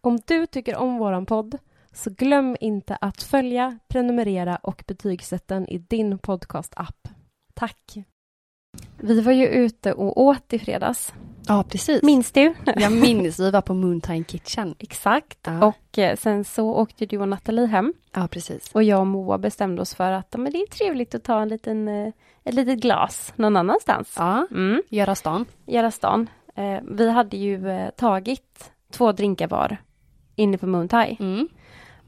Om du tycker om våran podd så glöm inte att följa, prenumerera och betygsätta den i din podcastapp. Tack! Vi var ju ute och åt i fredags. Ja, precis. Minns du? Jag minns, vi var på Moontime Kitchen. Exakt. Ja. Och eh, sen så åkte du och Nathalie hem Ja, precis. och jag och Moa bestämde oss för att ja, men det är trevligt att ta en liten, eh, ett litet glas någon annanstans. Ja, Mm, Göra stan. göra stan. Eh, vi hade ju eh, tagit två drinkar var inne på Moontai. Mm.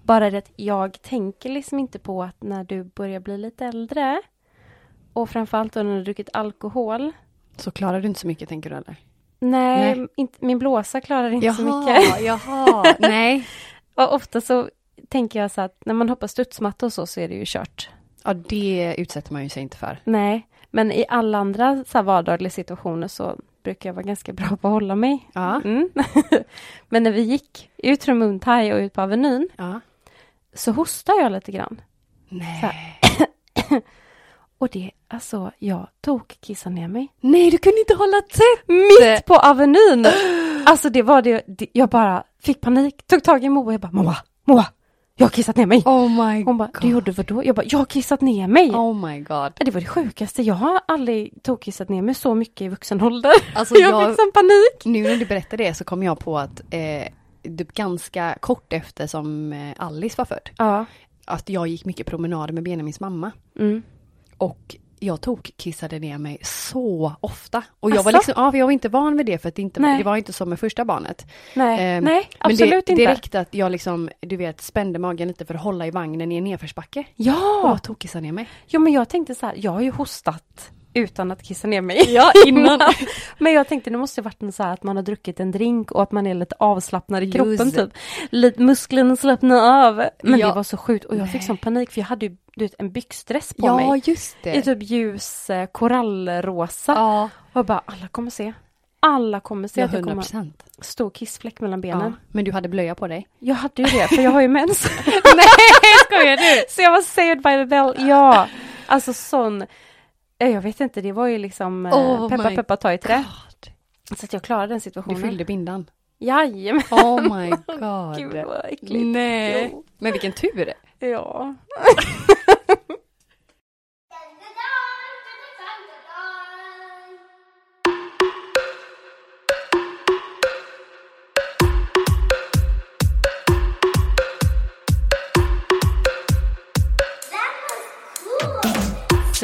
Bara det att jag tänker liksom inte på att när du börjar bli lite äldre och framförallt då när du har druckit alkohol. Så klarar du inte så mycket, tänker du eller? Nej, Nej. Inte, min blåsa klarar inte så mycket. jaha. Nej. Och ofta så tänker jag så att när man hoppar studsmatta och så, så är det ju kört. Ja, det utsätter man ju sig inte för. Nej, men i alla andra så här vardagliga situationer så brukar jag vara ganska bra på att hålla mig. Ja. Mm. men när vi gick ut från Moontai och ut på Avenyn ja. så hostade jag lite grann. Så Nej. Och det, alltså, jag tog kissa ner mig. Nej, du kunde inte hålla tätt. Mitt på Avenyn! Alltså det var det, det, jag bara fick panik, tog tag i Moa och jag bara Moa, Moa, jag har kissat ner mig. Oh my Hon bara, du gjorde vadå? Jag bara, jag har kissat ner mig. Oh my god. Det var det sjukaste, jag har aldrig tokissat ner mig så mycket i vuxen ålder. Alltså, Så jag fick sån panik. Nu när du berättar det så kom jag på att eh, det ganska kort efter som eh, Alice var född, Ja. att jag gick mycket promenader med Benjamins mamma. Mm. Och jag tog kissade ner mig så ofta. Och jag var, Asså? liksom, ja, för jag var inte van vid det för att det, inte, Nej. det var inte som med första barnet. Nej, Ehm, nej, Men det, absolut det inte. räckte att jag liksom, du vet, spände magen lite för att hålla i vagnen i en nedförsbacke. Och Ja, jag tog kissa ner mig. jo men jag tänkte så här, jag har ju hostat utan att kissa ner mig. Ja, innan. men jag tänkte det måste ju varit en så här att man har druckit en drink och att man är lite avslappnad i kroppen Just. typ. Lite musklerna slappnar av. Men Ja. det var så sjukt och jag fick Nej. sån panik för jag hade ju du vet, en byxdress på Ja, mig. just det. I typ ljus eh, korallrosa. Ja, Och jag bara, alla kommer se. Alla kommer se ja, att jag kommer ha 100 procent. stor kissfläck mellan benen. Ja. Men du hade blöja på dig. Jag hade ju det, för jag har ju mens. Nej, skojar du? så jag var saved by the bell. Ja, alltså sån. Ja, Jag vet inte, det var ju liksom eh, Oh peppa my peppa ta i trä. God. Så att jag klarade den Du situationen. fyllde bindan. Jajamän. Oh my god. Gud vad Mm. äckligt. Nej. Jo. Men vilken tur. Ja.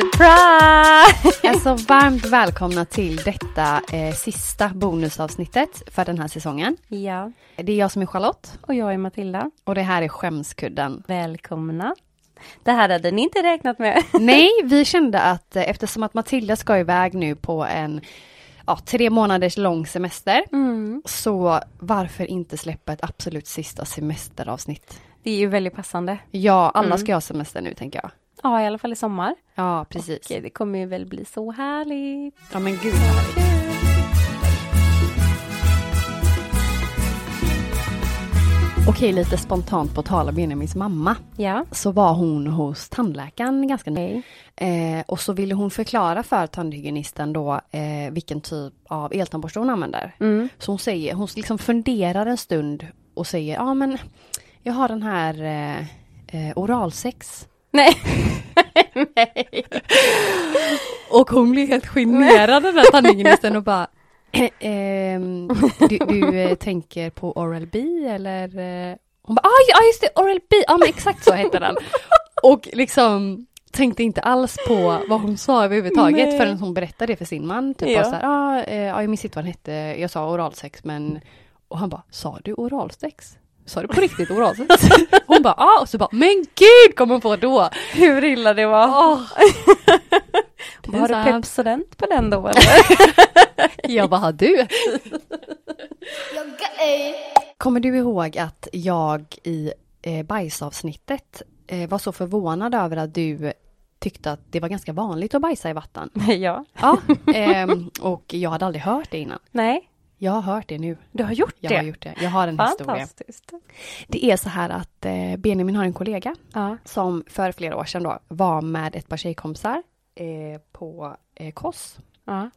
Surprise! Alltså varmt välkomna till detta eh, sista bonusavsnittet för den här säsongen. Ja, Det är jag som är Charlotte och jag är Matilda. och det här är Skämskudden. Välkomna. Det här hade ni inte räknat med. Nej, vi kände att eh, eftersom att Matilda ska iväg nu på en ja, tre månaders lång semester Mm. så varför inte släppa ett absolut sista semesteravsnitt? Det är ju väldigt passande. Ja, alla ska ha semester nu tänker jag. Ja, i alla fall i sommar. Ja, precis. Okej, det kommer ju väl bli så härligt. Ja men gud vad härligt. Okej, lite spontant på tal om Benjamins mamma. Ja. Så var hon hos tandläkaren ganska nyligen. Okej. Eh, och så ville hon förklara för tandhygienisten då eh, vilken typ av eltandborste hon använder. Mm. Så hon säger, hon liksom funderar en stund och säger, ja men jag har den här eh, eh, oralsex. Nej. Nej. Och hon blir helt generad den här tandhygienisten och bara ehm, du, du eh, tänker på Oral-B eller? eh?" Hon bara, "Ah, ja just det, Oral-B, ja men exakt så heter den. Och liksom tänkte inte alls på vad hon sa överhuvudtaget Nej. förrän hon berättade det för sin man. Typ Ja. bara så här, ah, eh, ja jag minns inte vad den hette, jag sa oralsex men och han bara, sa du oralsex? Sa du på riktigt oralsex? Hon bara, ja, ah. och så bara, men gud kom hon på då! Hur illa det var. Har du Pinsamt. Pepsodent på den då eller? Jag bara, har du? Logga ur. Kommer du ihåg att jag i eh, bajsavsnittet eh, var så förvånad över att du tyckte att det var ganska vanligt att bajsa i vatten? ja. Ja. ehm, och jag hade aldrig hört det innan. Nej, Jag har hört det nu. du har gjort Jag det. har gjort det. Jag har en historia. Fantastiskt. Det är så här att eh, Benjamin har en kollega Ja. som för flera år sedan då var med ett par tjejkompisar eh, på eh, Kos. Ja.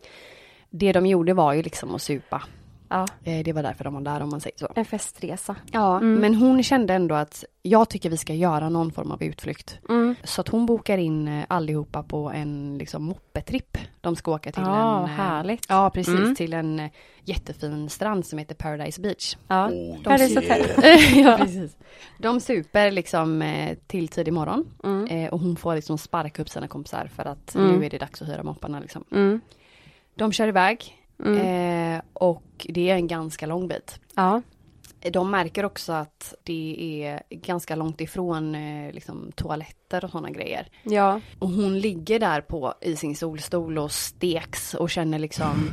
Det de gjorde var ju liksom att supa. Ja, Eh, Det var därför de var där om man säger så. en festresa. Ja, Mm. men hon kände ändå att jag tycker vi ska göra någon form av utflykt. Mm. Så att hon bokar in eh, allihopa på en liksom moppetripp. De ska åka till Ja, en... eh, Ah, härligt. Ja, precis. Mm. Till en eh, jättefin strand som heter Paradise Beach. Ja. Oh, Paradise Hotel. ja. precis. De super liksom eh, till tidig morgon. Mm. Eh, och hon får liksom sparka upp sina kompisar för att Mm. nu är det dags att hyra mopparna liksom. Mm. De kör iväg. Mm. Eh, och det är en ganska lång bit. Ja. De märker också att det är ganska långt ifrån eh, liksom, toaletter och sådana grejer. Ja. Och hon ligger där på i sin solstol och steks och känner liksom,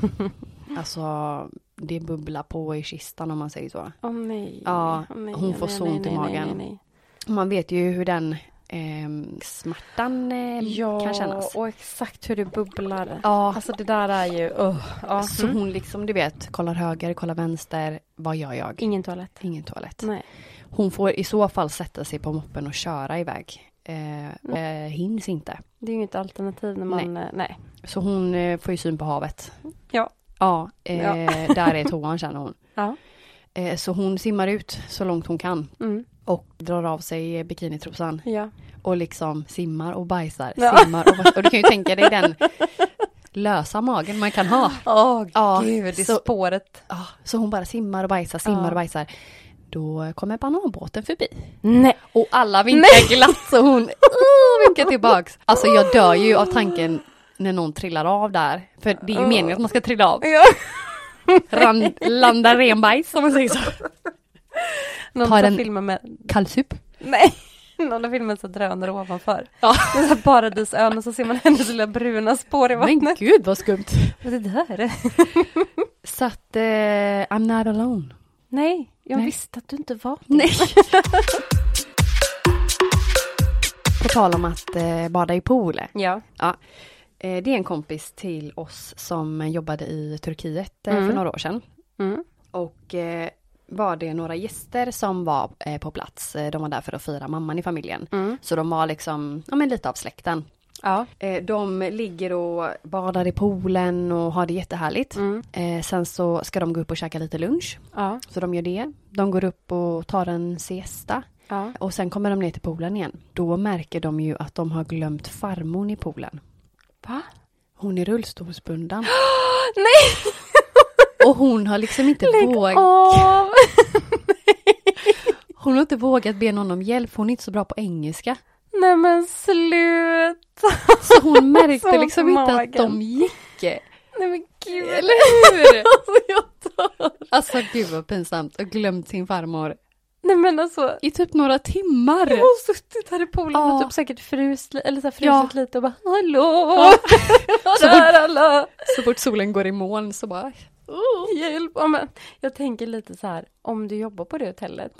alltså det bubblar på i kistan om man säger så. Åh nej. Ja, Åh, nej, hon nej, får nej, så nej, ont i nej, magen. Nej, nej, Och man vet ju hur den ehm, smärtan eh, nej. Ja, kan kännas. och exakt hur det bubblar. Ja, Alltså det där är ju... Uh, ja. så hon liksom du vet, kollar höger, kollar vänster, vad gör jag? Ingen toalett. Ingen toalett. Nej. Hon får i så fall sätta sig på moppen och köra iväg. Eh, och, eh, hinns inte. Det är ju inget alternativ när man... Nej. nej. Så hon eh, får ju syn på havet. Ja. Ja, eh, där är toan känner hon. Ja. Eh, så hon simmar ut så långt hon kan Mm. och drar av sig bikinitrosan Ja. och liksom simmar och bajsar, Ja. simmar och bajsar. Och du kan ju tänka dig den lösa magen man kan ha. Åh Ja, gud, det är så- spåret. Ja, så hon bara simmar och bajsar, simmar Ja. och bajsar. Då kommer bananbåten förbi. Nej. Och alla vinkar glatt så hon uh, vinkar tillbaks. Alltså jag dör ju av tanken när någon trillar av där. För det är ju meningen att man ska trilla av. Ja. Rand, landa renbajs om man säger så. Någon Ta som den- filmar med... Kallsup. Nej. Någon har filmat så drönare ovanför. Ja. Det är så här paradisön och så ser man hennes lilla bruna spår i vattnet. Men gud vad skumt. Vad är det där? Så att eh, I'm not alone. Nej, jag Nej. visste att du inte var det. Nej. På tal om att eh, bada i pool. Ja. Ja. Eh, det är en kompis till oss som jobbade i Turkiet eh, för Mm. några år sedan. Mm. Och eh, var det några gäster som var eh, på plats. Eh, De var där för att fira mamman i familjen. Mm. Så de var liksom, ja men lite av släkten. Ja. Eh, de ligger och badar i poolen och har det jättehärligt. Mm. Eh, sen så ska de gå upp och käka lite lunch. Ja. Så de gör det. De går upp och tar en siesta. Ja. Och sen kommer de ner till poolen igen. Då märker de ju att de har glömt farmor i poolen. Va? Hon är rullstolsbunden. Nej! Och hon har liksom inte vågat. av! Hon har inte vågat be någon om hjälp. för Hon är inte så bra på engelska. Nej men sluta! Så hon märkte Så liksom inte att magen. de gick. Nej men gud! Eller hur? Alltså jag dör! Alltså gud vad pinsamt. Och glömt sin farmor. Nej men alltså. I typ några timmar. Jag har suttit här i poolen och Ja. typ säkert frust, li- eller så här Ja. frusit lite och bara hallå! Så Där alla! Så fort solen går i moln så bara. Oh. Hjälp! Ja, men, jag tänker lite så här, om du jobbar på det hotellet,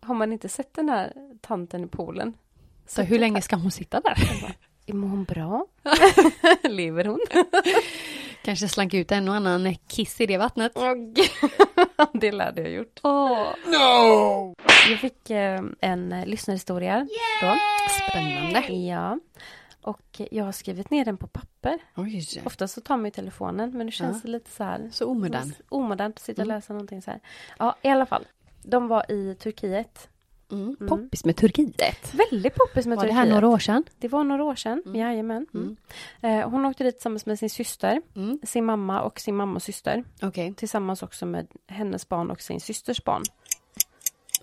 har man inte sett den här tanten i poolen? Så hur länge ska hon sitta där? Mår hon bra? Lever hon? Kanske slank ut en och annan kiss i det vattnet. Åh, gud. det lärde jag gjort. no! Jag fick eh, en eh, lyssnarhistoria då. Spännande. Ja. Och eh, jag har skrivit ner den på papper. Oj. Ofta så tar man ju telefonen, men nu känns Ja. det lite så här Så omodern. omodernt att sitta och Mm. läsa någonting så här. Ja, i alla fall. De var i Turkiet. Mm. Mm. Poppis med Turkiet. Väldigt poppis med Var det Turkiet. här några år sedan? Det var några år sedan, jajamän. Mm. Eh, hon åkte dit tillsammans med sin syster, Mm. sin mamma och sin mammas syster. Okej. Tillsammans också med hennes barn och sin systers barn.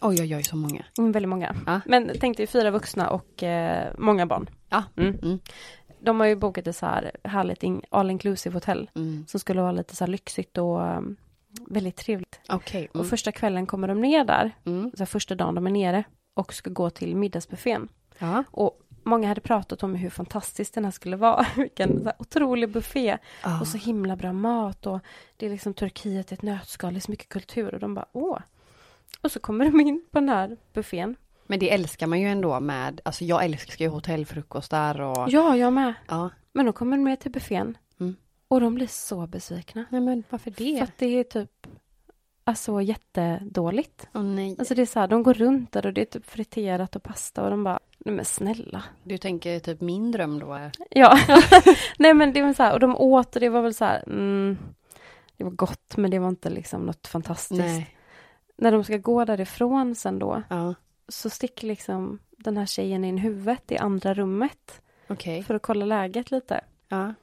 Oj, oj, oj, så många. Mm, väldigt många. Ja. Men tänk dig fyra vuxna och eh, många barn. Ja. Mm. Mm. De har ju bokat ett så här härligt in- all inclusive hotell. Mm. Som skulle vara lite så här lyxigt och um, väldigt trevligt. Okej. Och första kvällen kommer de ner där. Mm. Så här, första dagen de är nere. Och ska gå till middagsbuffén. Ja. Och många hade pratat om hur fantastisk den här skulle vara. Vilken så här otrolig buffé. Ja. Och så himla bra mat. Och det är liksom Turkiet i ett nötskal. Det är så mycket kultur. Och de bara åh. Och så kommer de in på den här buffén. Men det älskar man ju ändå med, alltså jag älskar ju hotellfrukostar och... Ja, jag med. Ja. Men då kommer de med till buffén. Mm. Och de blir så besvikna. Nej men varför För att det är typ alltså jättedåligt. Åh nej. Alltså det är så här, de går runt där och det är typ friterat och pasta och de bara, nej men snälla. Du tänker typ min dröm då? är- Ja, nej men det var så här, och de åt och det var väl så här, mm, Det var gott, men det var inte liksom något fantastiskt. Nej. När de ska gå därifrån sen då, Ja. så sticker liksom den här tjejen in huvudet i andra rummet Okej. för att kolla läget lite. Ja.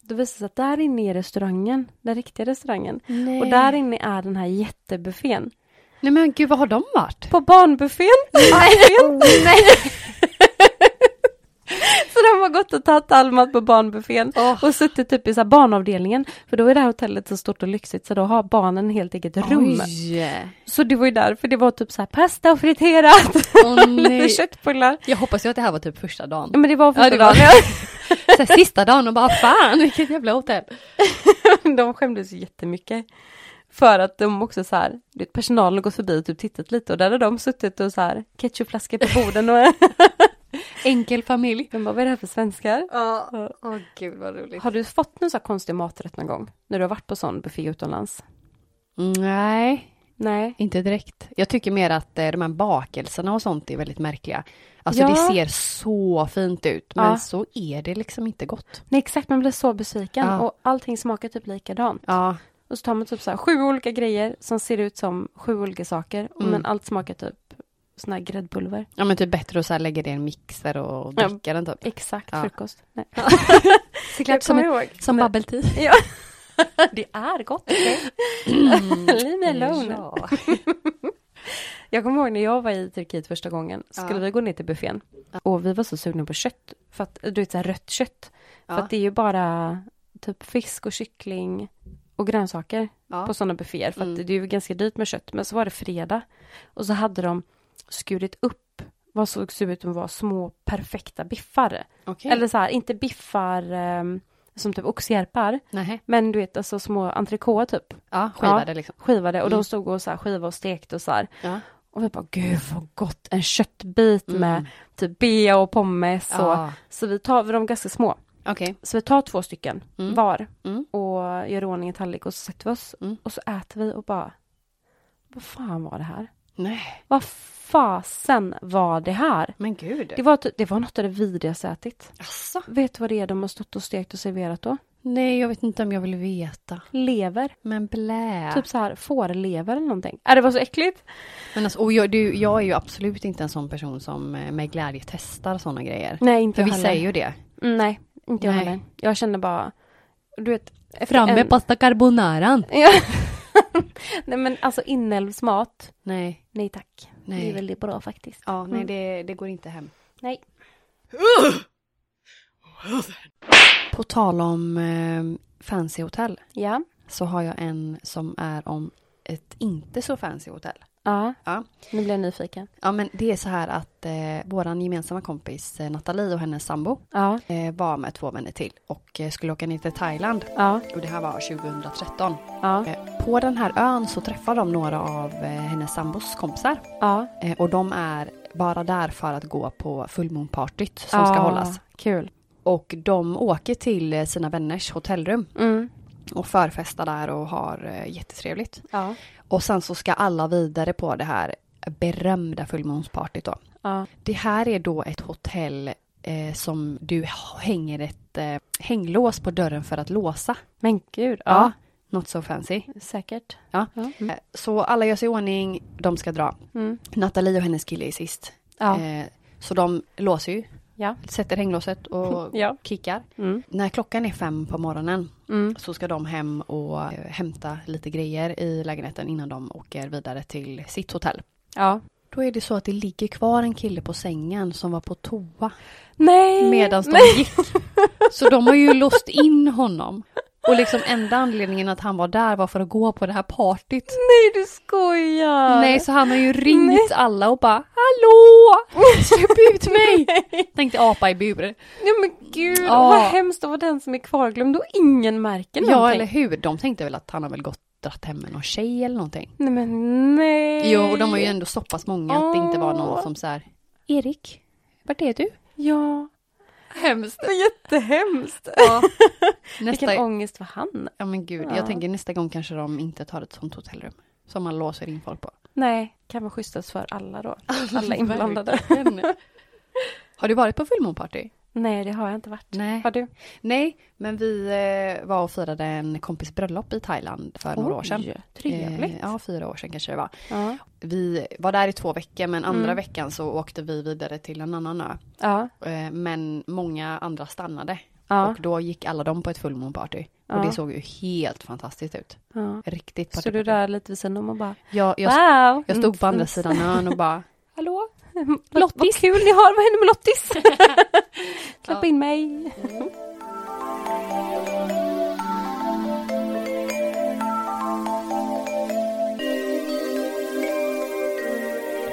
Då visar det sig att där inne är restaurangen, den riktiga restaurangen. Nej. Och där inne är den här jättebuffén. Nej men gud, vad har de varit? På barnbuffén! Oh, Nej. så de har gått och tagit all mat på barnbuffén och suttit typ i så här barnavdelningen. För då är det här hotellet så stort och lyxigt så då har barnen helt eget rum. Oj. Så det var ju därför det var typ så här pasta och friterat. Åh, nej. Lite köttbullar. Jag hoppas ju att det här var typ första dagen. Ja, men det var första Ja, det var- dagen. Så här, sista dagen och bara fan vilket jävla hotell. de skämdes ju jättemycket. För att de också så här, du vet, personalen har gått förbi och typ tittat lite och där har de suttit och så här ketchupflaskor på borden och Enkel familj. de bara, vad är det här för svenskar? Ja, åh gud vad roligt. Har du fått någon så här konstig maträtt någon gång? När du har varit på sån buffé utomlands? Nej, Nej. inte direkt. Jag tycker mer att eh, de här bakelserna och sånt är väldigt märkliga. Alltså Ja. det ser så fint ut men Ja. så är det liksom inte gott. Nej exakt, man blir så besviken Ja. och allting smakar typ likadant. Ja, Och så tar man typ så här sju olika grejer som ser ut som sju olika saker, Mm. men allt smakar typ sån här gräddpulver. ja men typ bättre att så här lägga det i en mixer och Ja. dricka den typ. Exakt, Ja. frukost. Nej. Såklart som, ihåg. som Nej. bubble tea. Ja. Det är gott. okej? Leave me alone. Ja. Jag kommer ihåg när jag var i Turkiet första gången, skulle Ja. vi gå ner till buffén och vi var så sugna på kött, för att, du vet så här rött kött, Ja. för att det är ju bara typ fisk och kyckling och grönsaker Ja. på sådana bufféer, för att Mm. det är ju ganska dyrt med kött, men så var det fredag och så hade de skurit upp vad såg ut att vara små perfekta biffar. Okej. Eller så här, inte biffar ehm, som typ oxhjärpar, Nej. men du vet alltså små entrecôte typ, Ja, skivade liksom. skivade och Mm. de stod och så här skivade och stekte och så här. Ja. Och vi bara, gud vad gott, en köttbit Mm. med typ bea och pommes. Så. Och, så vi tar, för de är ganska små, Okej. så vi tar två stycken Mm. var Mm. och gör i ordning en tallrik och så sätter vi oss Mm. och så äter vi och bara, vad fan var det här? Nej, Vad fasen var det här? men gud. Det var, typ- det var något av det vidrigaste jag ätit. Asså? Vet du vad det är de har stått och stekt och serverat då? Nej, jag vet inte om jag vill veta. Lever. Men blä. Typ så här fårlever eller någonting. Äh, det var så äckligt. Men alltså, och jag, du, jag är ju absolut inte en sån person som eh, med glädje testar sådana grejer. Nej, Mm, inte För jag vissa är heller. ju det. Mm, Nej, inte jag Nej. heller. Jag känner bara, du vet. efter en- pasta carbonaran. Ja. nej men alltså inälvsmat, Nej. nej tack. Nej. Det är väldigt bra faktiskt. Ja, nej Mm. det, det går inte hem. Nej. På tal om eh, fancy hotell Ja. så har jag en som är om ett inte så fancy hotell. Ja. Ja. Nu blir jag nyfiken. Ja men det är så här att eh, våran gemensamma kompis eh, Nathalie och hennes sambo Ja. eh, var med två vänner till och eh, skulle åka ner till Thailand. Ja. Och det här var 2013. Ja. Eh, På den här ön så träffar de några av eh, hennes sambos kompisar. Ja. Eh, Och de är bara där för att gå på fullmånpartyt som ska Ja. hållas. Kul. Och de åker till eh, sina vänners hotellrum Mm. och förfestar där och har eh, jättetrevligt. Ja. Och sen så ska alla vidare på det här berömda fullmånspartyt då. Ja. Det här är då ett hotell eh, som du h- hänger ett eh, hänglås på dörren för att låsa. Men gud. Ja. Ja. Not so fancy. Säkert. Ja. Ja. Mm. Eh, Så alla gör sig i ordning, de ska dra. Mm. Nathalie och hennes kille är sist. Ja. Eh, så de låser ju, Ja. sätter hänglåset och Ja. kickar. Mm. När klockan är fem på morgonen Mm. så ska de hem och eh, hämta lite grejer i lägenheten innan de åker vidare till sitt hotell. Ja. Då är det så att det ligger kvar en kille på sängen som var på toa Nej. medan de gick. Så de har ju låst in honom. Och liksom enda anledningen att han var där var för att gå på det här partyt. Nej du skojar. Nej, så han har ju ringt alla och bara Hallå! Släpp ut mig! Tänkte apa i bur. Nej men gud. Ja. Vad hemskt att vara den som är kvarglömd och ingen märker någonting. Ja, eller hur? De tänkte väl att han har väl gått dratt hem med någon tjej eller någonting. Nej men nej. Jo, och de var ju ändå så pass många att det inte var någon Åh. som så här Erik, vart är du? Ja. Hemskt. Det är jättehemskt. Ja. Vilken Nästa, ångest för han. ja men gud, Ja. jag tänker nästa gång kanske de inte tar ett sånt hotellrum. Som man låser in folk på. Nej, kan vara schysstast för alla då. Alla inblandade. Verkligen. Har du varit på fullmånparty? Nej, det har jag inte varit. Nej. Har du? Nej, men vi eh, var och firade en kompis bröllop i Thailand för några år sedan. Oj, Trevligt. Eh, ja, fyra år sedan kanske det var. ja. Vi var där i två veckor men andra Mm. veckan så åkte vi vidare till en annan ö. Ja. Eh, Men många andra stannade Ja. och då gick alla de på ett fullmånparty. Ja. Och det såg ju helt fantastiskt ut. ja. Riktigt Så du där lite vid sidan om och bara Jag, jag, wow. jag Mm. stod på andra sidan ön och bara Hallå? Lottis. Vad kul ni har, vad händer med Lottis? Klappa in mig.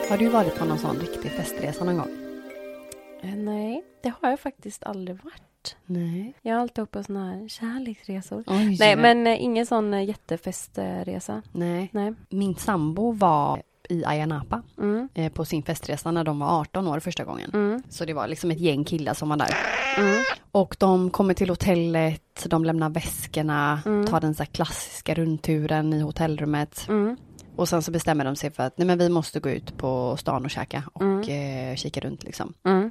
Har du varit på någon sån riktig festresa någon gång? Eh, Nej, det har jag faktiskt aldrig varit. Nej. Jag har alltid åkt på såna här kärleksresor. Oj, Nej, men eh, ingen sån eh, jättefestresa. Nej. Nej. Min sambo var i Ayia Napa Mm. eh, på sin festresa när de var 18 år första gången. Mm. Så det var liksom ett gäng killar som var där. Mm. Och de kommer till hotellet, de lämnar väskorna, Mm. tar den så här klassiska rundturen i hotellrummet. Mm. Och sen så bestämmer de sig för att nej men vi måste gå ut på stan och käka och eh, kika runt liksom. Mm.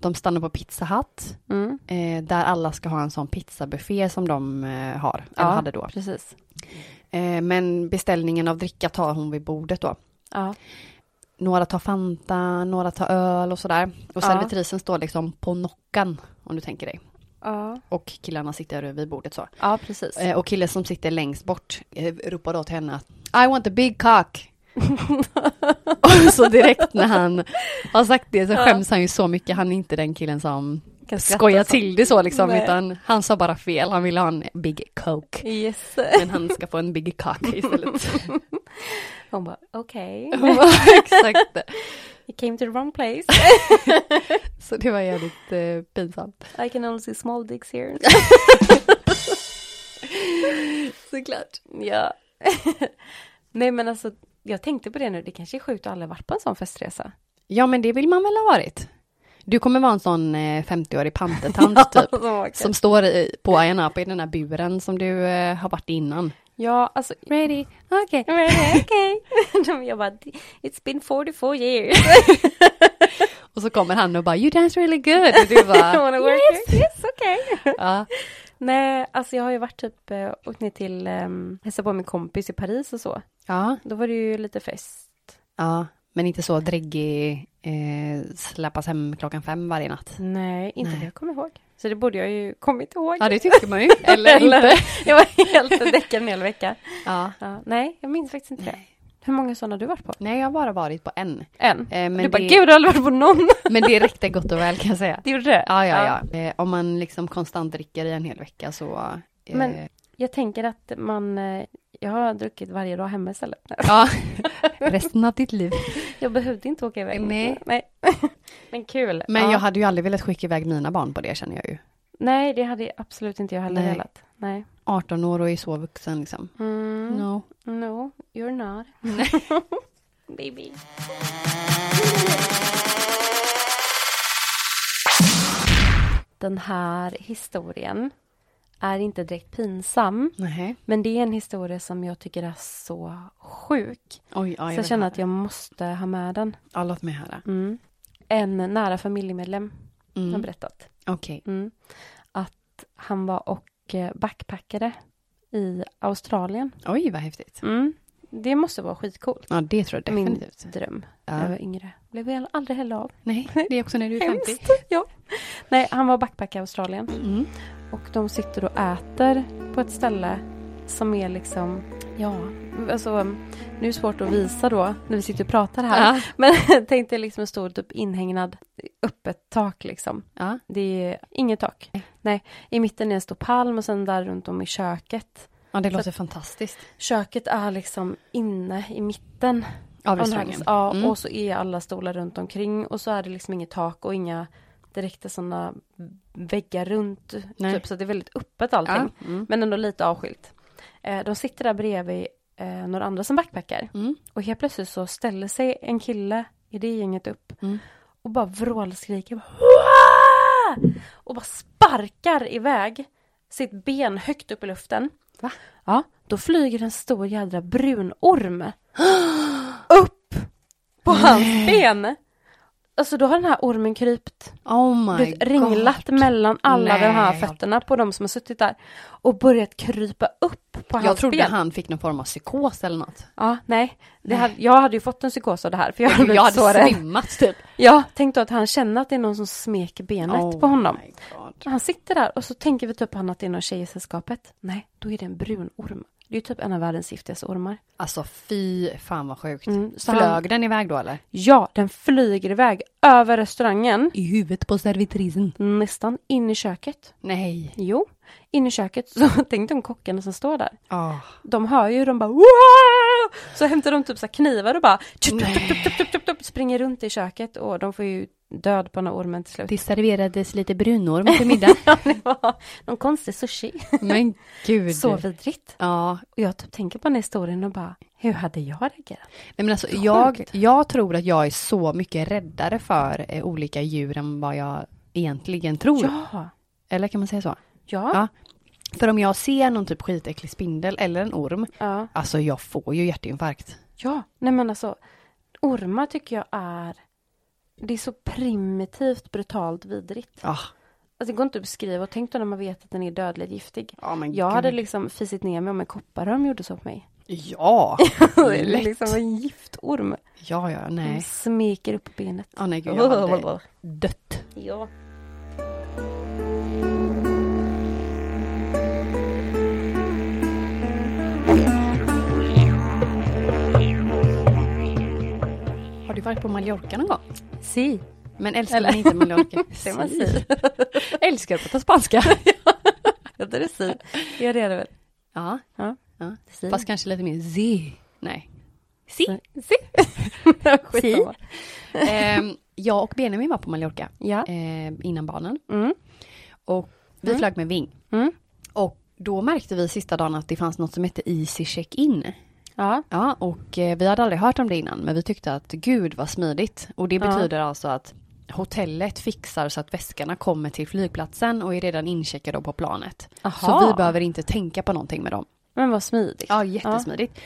De stannar på Pizza Hut, Mm. eh, där alla ska ha en sån pizzabuffé som de eh, har, Ja. eller hade då. Precis. Eh, men beställningen av dricka tar hon vid bordet då. Ja. Några tar Fanta, några tar öl och sådär. Och Ja. servitrisen står liksom på nockan, om du tänker dig. Ja. Och killarna sitter vid bordet så. ja, precis. Eh, Och killen som sitter längst bort eh, ropar då till henne att I want a big cock. och så direkt när han har sagt det så skäms han ju så mycket. Han är inte den killen som Kan skratta skojar så. till det så liksom. Nej. Utan han sa bara fel. Han ville ha en big coke. Yes. Men han ska få en big cock istället. Hon bara okej. Exakt. You came to the wrong place. Så det var jävligt eh, pinsamt. I can only see small dicks here. Såklart. Ja. Nej men alltså, jag tänkte på det nu, det kanske är sjukt att aldrig varit på en sån festresa. Ja men det vill man väl ha varit. Du kommer vara en sån eh, 50-årig pantertant typ. Som står i, på Ayia Napa i den här buren som du eh, har varit i innan. Ja, alltså. Ready, okej. Ready, okej. Okay. jag bara, it's been 44 years. Och så kommer han och bara you dance really good. Och du I bara wanna work yes, here. yes, okej. ja. Nej, alltså jag har ju varit typ, eh, åkt ner till, um, hälsat på min kompis i Paris och så. ja. Då var det ju lite fest. Ja. Men inte så dräggig eh, släpas hem klockan fem varje natt. Nej, inte Nej. vad jag kommer ihåg. Så det borde jag ju kommit ihåg. Ja det tycker man ju. Eller inte. Jag var helt däckad en hel vecka. Ja. Ja, nej, jag minns faktiskt inte det. Hur många sådana har du varit på? Nej jag har bara varit på en. En. Eh, men, du bara, det, gud, du har aldrig varit på någon. men det räckte gott och väl kan jag säga. Det gjorde det? Ja ja ja. Eh, om man liksom konstant dricker i en hel vecka så. Eh, Men- Jag tänker att man, eh, jag har druckit varje dag hemma istället. Ja. Resten av ditt liv. Jag behövde inte åka iväg. Nej. nej. Men kul. Men ja. jag hade ju aldrig velat skicka iväg mina barn på det känner jag ju. Nej, det hade absolut inte jag heller Nej. velat. Nej. 18 år och är så vuxen liksom. Mm. No. No, you're not. Baby. Den här historien är inte direkt pinsam, Nej. men det är en historia som jag tycker är så sjuk. Oj, ja, så vill jag känner höra. att jag måste ha med den. Ja, låt mig höra. Mm. En nära familjemedlem har Mm. berättat Okej. mm, att han var och eh, backpackade i Australien. Oj, vad häftigt. Mm. Det måste vara skitcoolt. Ja, det tror jag Min definitivt. dröm när jag Ja. var yngre. Blev jag aldrig heller av. Nej, det är också när du är 50. Hemskt. Ja. Nej, han var backpackare i Australien. Mm. Och de sitter och äter på ett ställe som är liksom, ja, alltså nu är det svårt att visa då när vi sitter och pratar här. Ja. Men tänk dig liksom en stor typ inhägnad, öppet tak liksom. Ja. Det är inget tak. Nej, i mitten är en stor palm och sen där runt om i köket. ja, det låter fantastiskt. Köket är liksom inne i mitten Av Ja, restaurangen. nice. Ja, Mm. och så är alla stolar runt omkring och så är det liksom inget tak och inga direkta sådana väggar runt. Nej. Typ, så det är väldigt öppet allting. Ja. Mm. Men ändå lite avskilt. Eh, de sitter där bredvid eh, några andra som backpackar. Mm. Och helt plötsligt så ställer sig en kille i det gänget upp Mm. och bara vrålskriker. Bara, "Hurra!" och bara sparkar iväg sitt ben högt upp i luften. Va? Ja, då flyger en stor jädra brunorm upp på hans ben. alltså då har den här ormen krypt, Oh du my vet, ringlat god. mellan alla de här Nej. fötterna på de som har suttit där och börjat krypa upp på Jag hans trodde ben. han fick någon form av psykos eller något. Ja, nej. Det Nej. Hade, jag hade ju fått en psykos av det här för jag hade Jag blivit så hade rädd. svimmat typ. Ja, tänk då att han känner att det är någon som smeker benet på honom. Oh my god. Han sitter där och så tänker vi typ han att det är någon tjej i sällskapet. Nej, då är det en brun orm. Det är ju typ en av världens giftigaste ormar. Alltså fy fan vad sjukt. Mm, så Flög han- den iväg då eller? Ja, den flyger iväg över restaurangen, I huvudet på servitrisen. nästan in i köket. Nej. Jo, in i köket. Så tänk de kockarna som står där. Ah. De hör ju, de bara Wah! Så hämtar de typ så här knivar och bara tup, tup, tup, tup, tup, tup, tup, springer runt i köket och de får ju död på den här ormen till slut. Det serverades lite brunorm till middag. Ja, det var någon konstig sushi. Men gud. Så vidrigt. Ja, Och jag typ tänker på den här historien och bara, hur hade jag reagerat? Nej, men alltså, jag, jag tror att jag är så mycket räddare för eh, olika djur än vad jag egentligen tror. Ja, Eller kan man säga så? ja, Ja. För om jag ser någon typ skitäcklig spindel eller en orm, ja, alltså jag får ju hjärtinfarkt. ja. Nej men alltså, ormar tycker jag är, det är så primitivt brutalt vidrigt. Ja, Alltså det går inte att beskriva och tänk då när man vet att den är dödligt giftig. Ja, men Jag hade gud. liksom fisit ner mig om en kopparorm gjorde så på mig. Ja, Det är lätt. liksom en giftorm. ja, ja, Den nej. smeker upp benet. Ja, nej gud, jag hade dött. Ja. Har du varit på Mallorca någon gång? Si. Men älskar man inte Mallorca? Det man si. älskar att prata spanska. Heter det si? Ja, det är det väl. ja, Ja. ja. Si. Fast kanske lite mer z. Nej. Si. Si. Skitsamma. Ehm, jag och Benjamin var på Mallorca Ja. ehm, innan barnen. Mm. Och vi Mm. flög med Ving. Mm. Och då märkte vi sista dagen att det fanns något som hette Easy Check-In. Ja. Ja, och eh, vi hade aldrig hört om det innan, men vi tyckte att gud vad smidigt. Och det Ja. betyder alltså att hotellet fixar så att väskarna kommer till flygplatsen och är redan incheckade på planet. Så vi behöver inte tänka på någonting med dem. Men vad smidigt. Ja, jättesmidigt.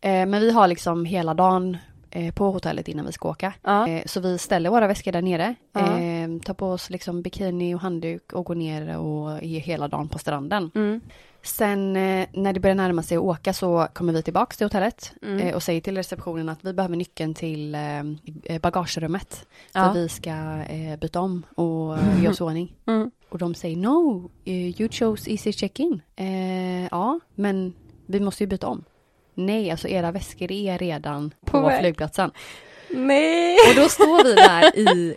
Eh, men vi har liksom hela dagen eh, på hotellet innan vi ska åka. Ja. Eh, så vi ställer våra väskor där nere, Ja. eh, tar på oss liksom bikini och handduk och går ner och är hela dagen på stranden. Mm. Sen eh, när det börjar närma sig att åka så kommer vi tillbaks till hotellet Mm. eh, och säger till receptionen att vi behöver nyckeln till eh, bagagerummet. Ja. För vi ska eh, byta om och eh, göra oss i ordning. Mm. Och de säger no, eh, you chose easy check-in. Eh, ja, men vi måste ju byta om. Nej, alltså era väskor är redan på, På väg. flygplatsen. Nej. Och då står vi där i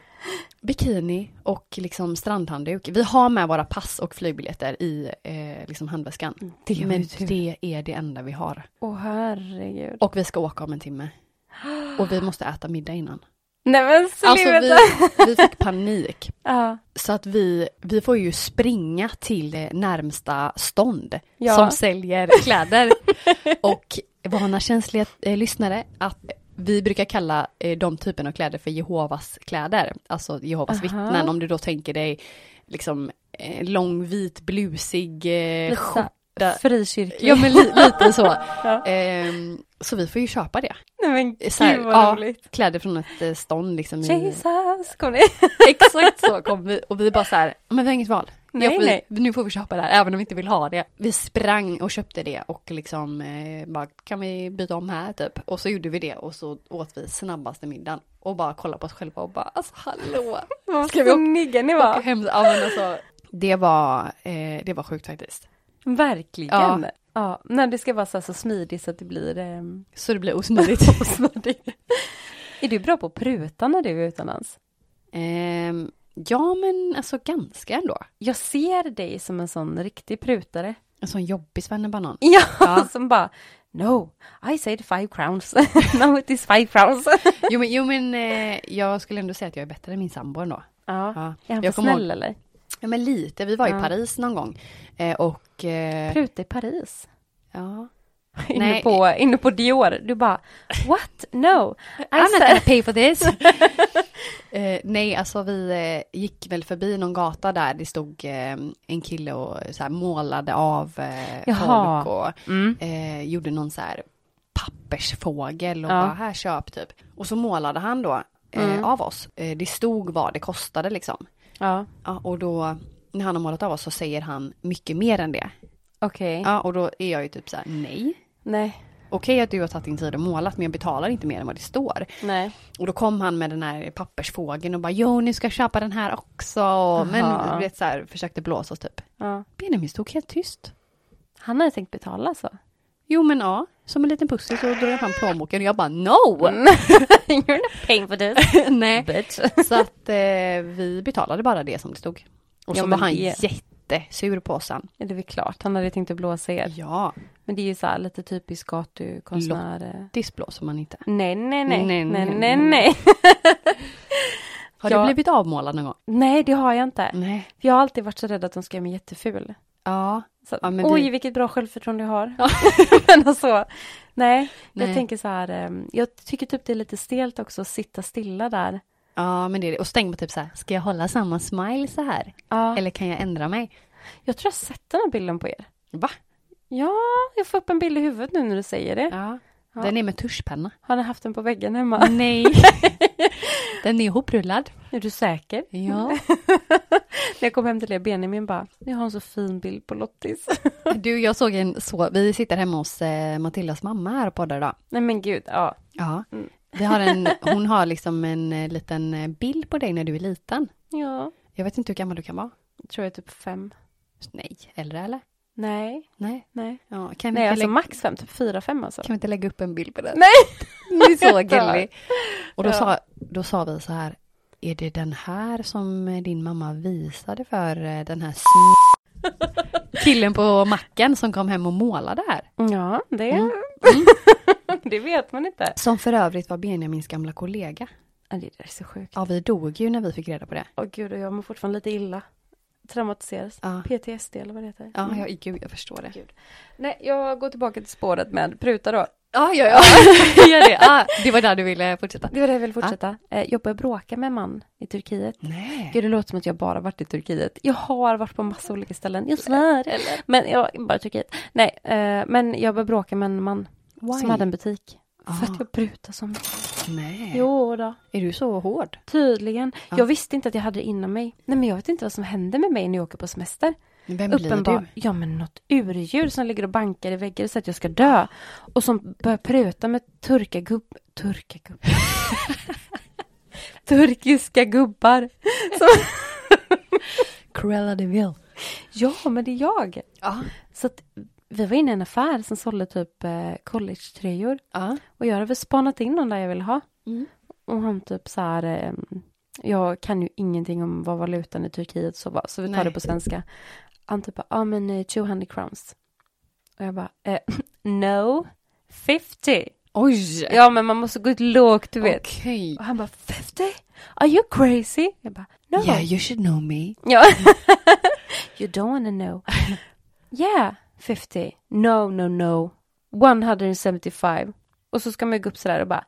bikini och liksom strandhandduk. Vi har med våra pass och flygbiljetter i eh, liksom handväskan. Det var Men ju tur. det är det enda vi har. Åh herregud. Och vi ska åka om en timme. Och vi måste äta middag innan. Nej men Alltså sluta. vi, vi fick panik. Ja. Så att vi, vi får ju springa till det närmsta stånd Ja. som säljer kläder. och vana känsliga eh, lyssnare att vi brukar kalla eh, de typen av kläder för Jehovas kläder, alltså Jehovas Aha. vittnen. Om du då tänker dig liksom eh, lång vit blusig eh, Lite så här skjorta. Frikyrklig. Ja men li, lite så. Ja. Ehm, så vi får ju köpa det. Nej men Så här, gud ja. vad roligt. Kläder från ett eh, stånd liksom. I, Jesus, kom ni? Exakt så kom vi och vi bara så här, men vi har inget val. Nej, Ja, vi, nej. Nu får vi köpa det här även om vi inte vill ha det. Vi sprang och köpte det och liksom eh, bara kan vi byta om här typ. Och så gjorde vi det och så åt vi snabbaste middagen och bara kollade på oss själva och bara alltså hallå. Vad Ska vi åka- snygga ni Och var. hem, ja, men alltså, det var, eh, det var sjukt faktiskt. Verkligen. Ja. Ja. När det ska vara så, här så smidigt så att det blir ehm, Så det blev osmidigt. osmidigt. Är du bra på att pruta när du är utomlands? Ehm, ja men alltså ganska ändå. Jag ser dig som en sån riktig prutare. Alltså, En sån jobbig svennebanan. Ja, Ja. som bara No, I said five crowns. no, it is five crowns. Jo men, jo, men eh, jag skulle ändå säga att jag är bättre än min sambo ändå. ja. Ja. Är han för Jag kommer ihåg- snäll eller? Ja men lite, vi var i Ja. Paris någon gång. Eh, och... Eh, Pruta i Paris. ja. Inne Nej. på, inne på Dior. Du bara What? No. Alltså I I'm not gonna said... pay for this! eh, nej, alltså vi eh, gick väl förbi någon gata där det stod eh, en kille och så här, målade av eh, Jaha. folk och Mm. eh, gjorde någon så här pappersfågel och Ja. bara här köp typ. Och så målade han då eh, Mm. av oss. Eh, det stod vad det kostade liksom. Ja. Ja, och då när han har målat av oss så säger han mycket mer än det. Okej. Ja, och då är jag ju typ så här, nej. Nej. Okej att du har tagit din tid och målat men jag betalar inte mer än vad det står. Nej. Och då kom han med den här pappersfågeln och bara jo ni ska köpa den här också. Och, men Aha. du vet så här, försökte blåsa oss typ. Ja. Benjamin stod helt tyst. Han hade tänkt betala så. Jo men ja, som en liten pussel så drog jag fram plånboken och jag bara no! You're not paying for this Nej. Mm. bitch. Så att eh, vi betalade bara det som det stod. Och Ja, så var men han det- jättesur på oss sen. Ja, det är väl klart. Han hade tänkt att blåsa er. Ja, Men det är ju så här lite typiskt gatukonstnär. eh. diss blåser man inte. Nej, nej, nej. Nej, Nej, nej, nej, nej. nej. Nej, Har Ja. du blivit avmålad någon gång? nej det har jag inte. Nej. För jag har alltid varit så rädd att de ska göra mig jätteful. Ja. Så, Ja, men oj, vi- vilket bra självförtroende jag har. men alltså, nej, Nej. jag tänker så här, ehm, jag tycker typ det är lite stelt också att sitta stilla där. Ja, men det är det. Och stäng på typ så här, ska jag hålla samma smile så här? Ja, Eller kan jag ändra mig? jag tror jag har sett den här bilden på er. Va? Ja, jag får upp en bild i huvudet nu när du säger det. Ja. Ja. Den är med tuschpenna. Har ni haft den på väggen hemma? Nej. den är ihoprullad. Är du säker? Ja. När jag kom hem till er, Benjamin bara, ni har en så fin bild på Lottis. Du, jag såg en så, vi sitter hemma hos eh, Matildas mamma här på där idag. nej men gud, ja. Ja. Mm. Vi har en, hon har liksom en eh, liten eh, bild på dig när du är liten. Ja, Jag vet inte hur gammal du kan vara. jag tror jag är typ fem. Nej, äldre eller? Nej, Nej. nej. Ja, kan, vi Nej, inte alltså lägga, max fem, typ fyra, fem alltså. kan vi inte lägga upp en bild på den? Nej! Det är så gullig. Och då, Ja. sa, då sa vi så här, är det den här som eh, din mamma visade för eh, den här sn- killen på macken som kom hem och målade här? Ja, det, Mm. det vet man inte. Som för övrigt var Benjamins gamla kollega. Ja, Det där är så sjukt. Ja, vi dog ju när vi fick reda på det. Åh gud, och jag mår fortfarande lite illa. Traumatiseras. Ja, PTSD eller vad det heter. ja Mm. jag, gud, jag förstår det. Nej, jag går tillbaka till spåret med pruta då. Ja, ja, ja. Gör det. Ja, det var där du ville fortsätta. Det var det jag ville fortsätta. Eh, jag började bråka med en man i Turkiet. Nej. Gud, det låter som att jag bara varit i Turkiet. Jag har varit på massa olika ställen, jag svär. Men jag, bara i Turkiet. Nej, eh, men jag började bråka med en man Why? som hade en butik. För Ah. att jag prutade som... Nej. Jo då. Är du så hård? Tydligen. Ja. Jag visste inte att jag hade det inom mig. Nej, men jag vet inte vad som händer med mig när jag åker på semester. Vem Uppenbar. Ja, men något urdjur som ligger och bankar i väggar och säger att jag ska dö. Och som börjar pruta med turkagubb... Turkagubb... Turkiska gubbar. Cruella de Vil. Ja, men det är jag. Ja. Så att vi var inne i en affär som sålde typ eh, collegetröjor. ja. Och jag hade väl spanat in någon där jag ville ha. Mm. Och han typ så här, ehm, jag kan ju ingenting om vad valutan i Turkiet så var, så vi tar Nej. det på svenska. Han typ bara, ja men eh, 200 crowns. Och jag bara, eh, no, 50. Oj! Ja men man måste gå ut lågt du vet. Okej. Och han bara, 50? Are you crazy? Jag bara, no. you should know me. Ja. Mm. you don't wanna know. Yeah, 50. No, no, no. 175. Och så ska man ju gå upp sådär och bara,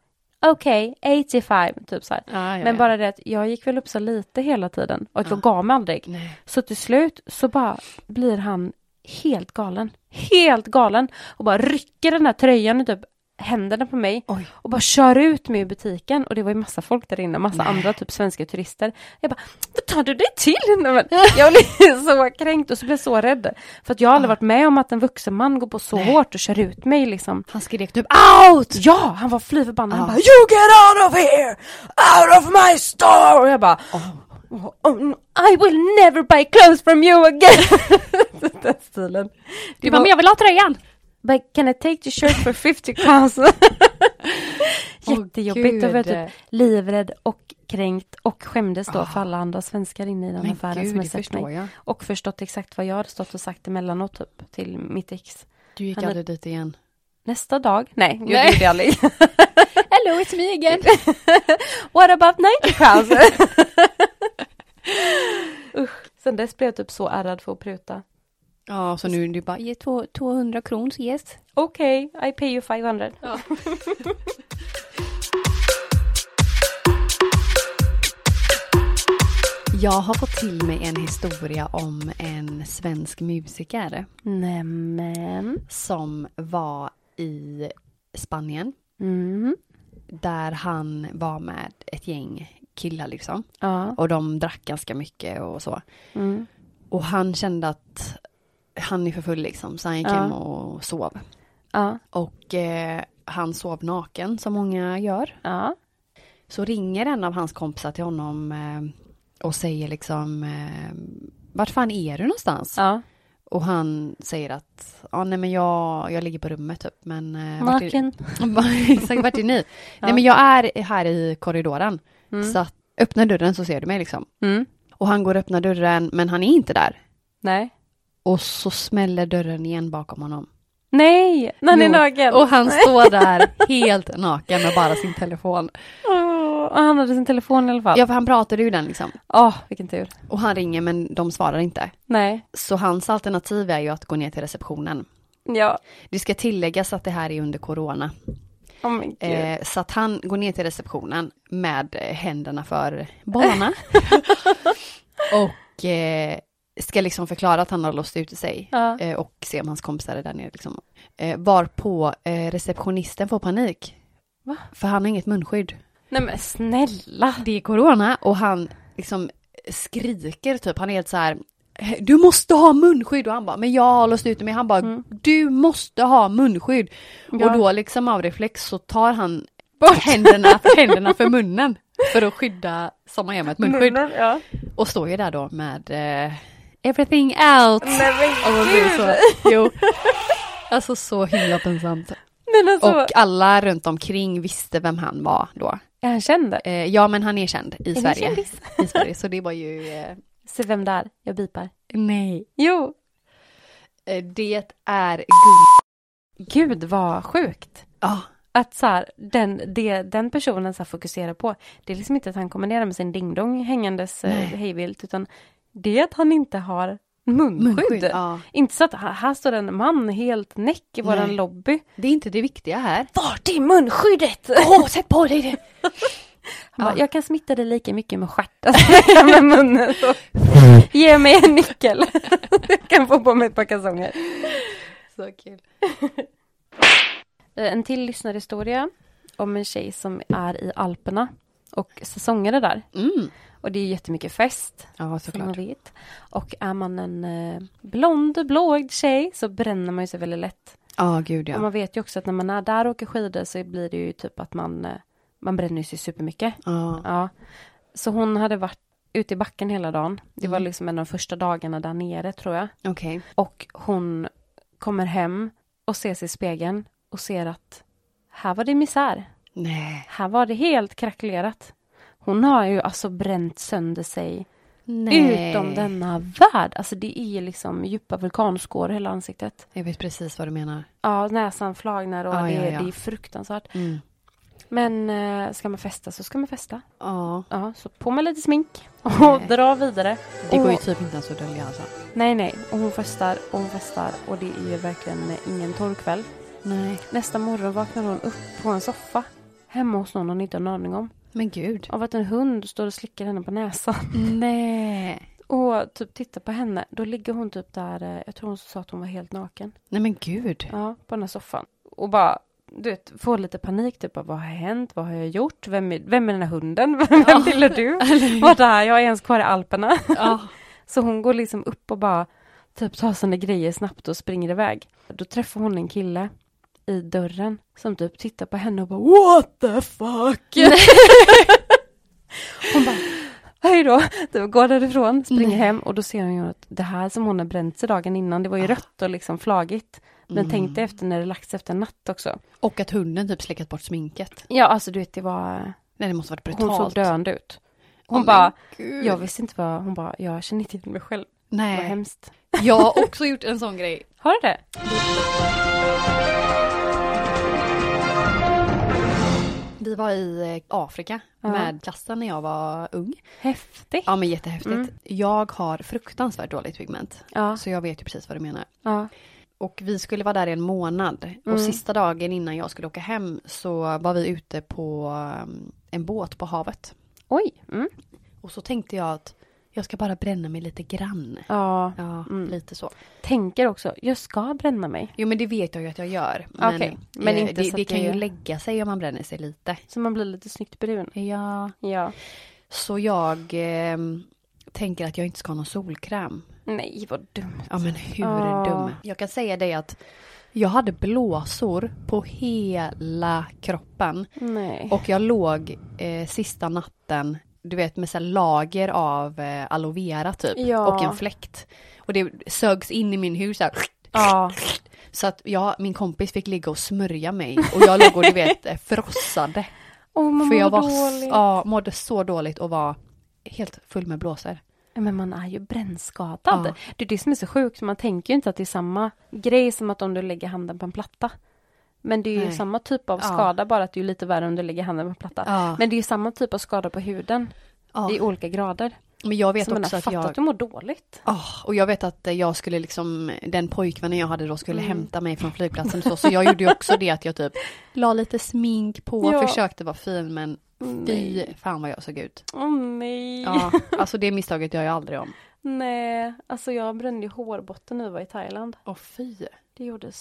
okej, 85, typ så här. Ah, Ja, ja, Men ja. bara det att jag gick väl upp så lite hela tiden och att Ja. jag gav mig aldrig. Nej. Så till slut så bara blir han helt galen. Helt galen. Och bara rycker den här tröjan och typ händerna på mig. Oj. Och bara kör ut mig ur butiken. Och det var ju massa folk där inne, massa Nej. andra typ svenska turister. Jag bara, vad tar du dig till? Nej, men Jag blev så kränkt och så blev jag så rädd. För att jag har aldrig varit med om att en vuxen man går på så Nej. hårt och kör ut mig liksom. Han skrek typ OUT! Ja, han var fly förbannad. Ja. Han bara You get out of here! Out of my store! Och jag bara oh. no, I will never buy clothes from you again! Den stilen. Du bara, men jag vill ha tröjan! But can I take the shirt for 50 crowns? Jättejobbigt. Åh, Oh, typ gud. livrädd och kränkt och skämdes då Ah. för alla andra svenskar inne i den affären som hade sett mig. jag. Och förstått exakt vad jag hade stått och sagt emellanåt typ till mitt ex. Du gick Han- aldrig dit igen. Nästa dag, nej, nej. Nej. det gjorde jag aldrig. Hello, it's me again! What about 90 crowns? Usch. Sen dess blev jag typ så ärrad för att pruta. Ja, så nu är du bara, ge två- 200 kronor, yes. Okej, I pay you 500. Jag har fått till mig en historia om en svensk musiker Nämen. som var i Spanien Mm. där han var med ett gäng killar liksom. Ja. Och de drack ganska mycket och så. Mm. Och han kände att han är för full liksom, så han gick Ja. hem och sov. Ja. Och eh, han sov naken, som många gör. Ja. Så ringer en av hans kompisar till honom eh, och säger liksom, eh, vart fan är du någonstans? Ja. Och han säger att, ja nej men jag, jag ligger på rummet typ, men... eh, vart är- Naken. Exakt, vart är ni? Nej men jag är här i korridoren, Mm. så att, öppna dörren så ser du mig liksom. Mm. Och han går och öppnar dörren, men han är inte där. Nej. Och så smäller dörren igen bakom honom. Nej, när han är Jo. naken. Och han står där helt naken med bara sin telefon. Åh, och han hade sin telefon i alla fall. Ja, för han pratade ju den liksom. Åh, vilken tur. Och han ringer men de svarar inte. Nej. Så hans alternativ är ju att gå ner till receptionen. Ja. Det ska tilläggas att det här är under corona. Åh men gud. Eh, så att han går ner till receptionen med eh, händerna för barna. och eh, ska liksom förklara att han har låst ut sig. ja. Eh, och se om hans kompisar är där nere. Liksom. Eh, varpå eh, receptionisten får panik. Va? För han har inget munskydd. Nej men snälla. Det är corona och han liksom skriker typ, han är helt så här du måste ha munskydd och han bara, men jag har låst ut mig. Han bara, Mm. du måste ha munskydd. Ja. Och då liksom av reflex så tar han händerna, händerna för munnen. För att skydda, som man gör med ett munskydd. Munnen, Ja. Och står ju där då med eh, everything out. Nej men Och man blir gud. så, jo. Alltså så himla pinsamt. Men alltså, Och alla runt omkring visste vem han var då. är han känd då? Eh, ja men han är känd i Är ni Sverige. kändis? I Sverige, så det var ju... Eh, Se vem det är, jag bipar. nej. Jo. eh, Det är guld. Ah, Gud vad sjukt. Ja, Att så här, den, det, den personen så här fokuserar på, det är liksom inte att han kommer ner med sin dingdong hängandes eh, Nej. hejvilt, utan det är att han inte har munskydd. munskydd. Ja. Inte så att här, här står en man helt näck i våran Nej. lobby. Det är inte det viktiga här. Vart är munskyddet? Åh, sätt på dig det! Han bara, Ja. jag kan smitta dig lika mycket med Alltså, stjärten som med munnen. Så. Ge mig en nyckel. jag kan få på mig ett par kalsonger. Så kul. Eh, En till lyssnarhistoria om en tjej som är i Alperna och säsongare där. Mm. Och det är jättemycket fest, Ja, som man såklart. vet. Och är man en eh, blond, blåögd tjej så bränner man ju sig väldigt lätt. Ja, gud ja. Och man vet ju också att när man är där och åker skidor så blir det ju typ att man, eh, man bränner ju sig supermycket. Ja. Ja. Så hon hade varit ute i backen hela dagen. Det var Mm. liksom en av de första dagarna där nere tror jag. Okej. Och hon kommer hem och ser sig i spegeln och ser att här var det misär. Nej. Här var det helt krackelerat. Hon har ju alltså bränt sönder sig Nej. utom denna värld. Alltså det är ju liksom djupa vulkanskår i hela ansiktet. Jag vet precis vad du menar. Ja, näsan flagnar och Ja, det, ja, är- ja. det är fruktansvärt. Mm. Men eh, ska man festa så ska man festa. Ja. Ja, så på med lite smink och Nej. dra vidare. Det går ju Och- typ inte ens att dölja alltså. Nej, nej. Och hon festar och hon festar och det är ju verkligen eh, ingen torr kväll. Nej. Nästa morgon vaknar hon upp på en soffa hemma hos någon hon inte har en aning om. Men gud. Av att en hund står och slickar henne på näsan Nej. och typ tittar på henne. Då ligger hon typ där, eh, jag tror hon sa att hon var helt naken. Nej men gud. Ja, på den här soffan. Och bara, du vet, får lite panik typ. Bara, vad har hänt? Vad har jag gjort? Vem är, vem är den här hunden? Vem Ja. ville du? Vart är jag? Jag är ens kvar i Alperna. Ja. Så hon går liksom upp och bara typ tar sina grejer snabbt och springer iväg. Då träffar hon en kille i dörren som typ tittar på henne och bara What the fuck! hon bara Hej då! Typ går därifrån, springer Nej. hem och då ser hon ju att det här som hon har bränt sig dagen innan, det var ju Ah. rött och liksom flagigt. Men Mm. tänk dig efter när det lagt sig efter en natt också. Och att hunden typ slickat bort sminket. Ja, alltså du vet, det var... Nej det måste varit brutalt. Hon såg döende ut. Hon Åh, men bara, gud. jag visste inte vad... Hon bara, jag känner inte igen mig själv. Vad Nej. hemskt. Jag har också gjort en sån grej. Har du det? Vi var i eh, Afrika Ja. med klassen när jag var ung. Häftigt. Ja men jättehäftigt. Mm. Jag har fruktansvärt dåligt pigment. Ja. Så jag vet ju precis vad du menar. Ja. Och vi skulle vara där i en månad. Mm. Och sista dagen innan jag skulle åka hem så var vi ute på um, en båt på havet. Oj. Mm. Och så tänkte jag att Jag ska bara bränna mig lite grann. Ja. Ja, Mm. lite så. Tänker också, jag ska bränna mig. Jo men det vet jag ju att jag gör. Men, Okej, men men eh, inte det, så det att kan det- ju lägga sig om man bränner sig lite. Så man blir lite snyggt brun. Ja. Ja. Så jag ehm, tänker att jag inte ska ha någon solkräm. Nej, vad dumt. Ja men hur Ja. dum. Jag kan säga dig att jag hade blåsor på hela kroppen. Nej. Och jag låg eh, sista natten, du vet med så här lager av eh, aloe vera typ. Ja. Och en fläkt. Och det sögs in i min hud så här. Ja. Så att jag, min kompis fick ligga och smörja mig. Och jag låg och du vet eh, frossade. Oh, man För jag mår var, s- dåligt. ja, mådde så dåligt och var helt full med blåsor. Men man är ju brännskadad. Ja. Det är det som är så sjukt, man tänker ju inte att det är samma grej som att om du lägger handen på en platta. Men det är ju Nej. samma typ av Ja. skada, bara att det är lite värre om du lägger handen på en platta. Ja. Men det är ju samma typ av skada på huden, Ja. i olika grader. Men jag vet så man också har att fattat jag... att du mår dåligt. Ah, och jag vet att eh, jag skulle liksom, den pojkvännen jag hade då skulle hämta mig från flygplatsen och så, så jag gjorde ju också det att jag typ la lite smink på, Ja. försökte vara fin men fy fan vad jag såg ut. Åh nej! Ja, alltså det misstaget gör jag aldrig om. Nej, alltså jag brände ju hårbotten när vi var i Thailand. Åh fy. Det gjorde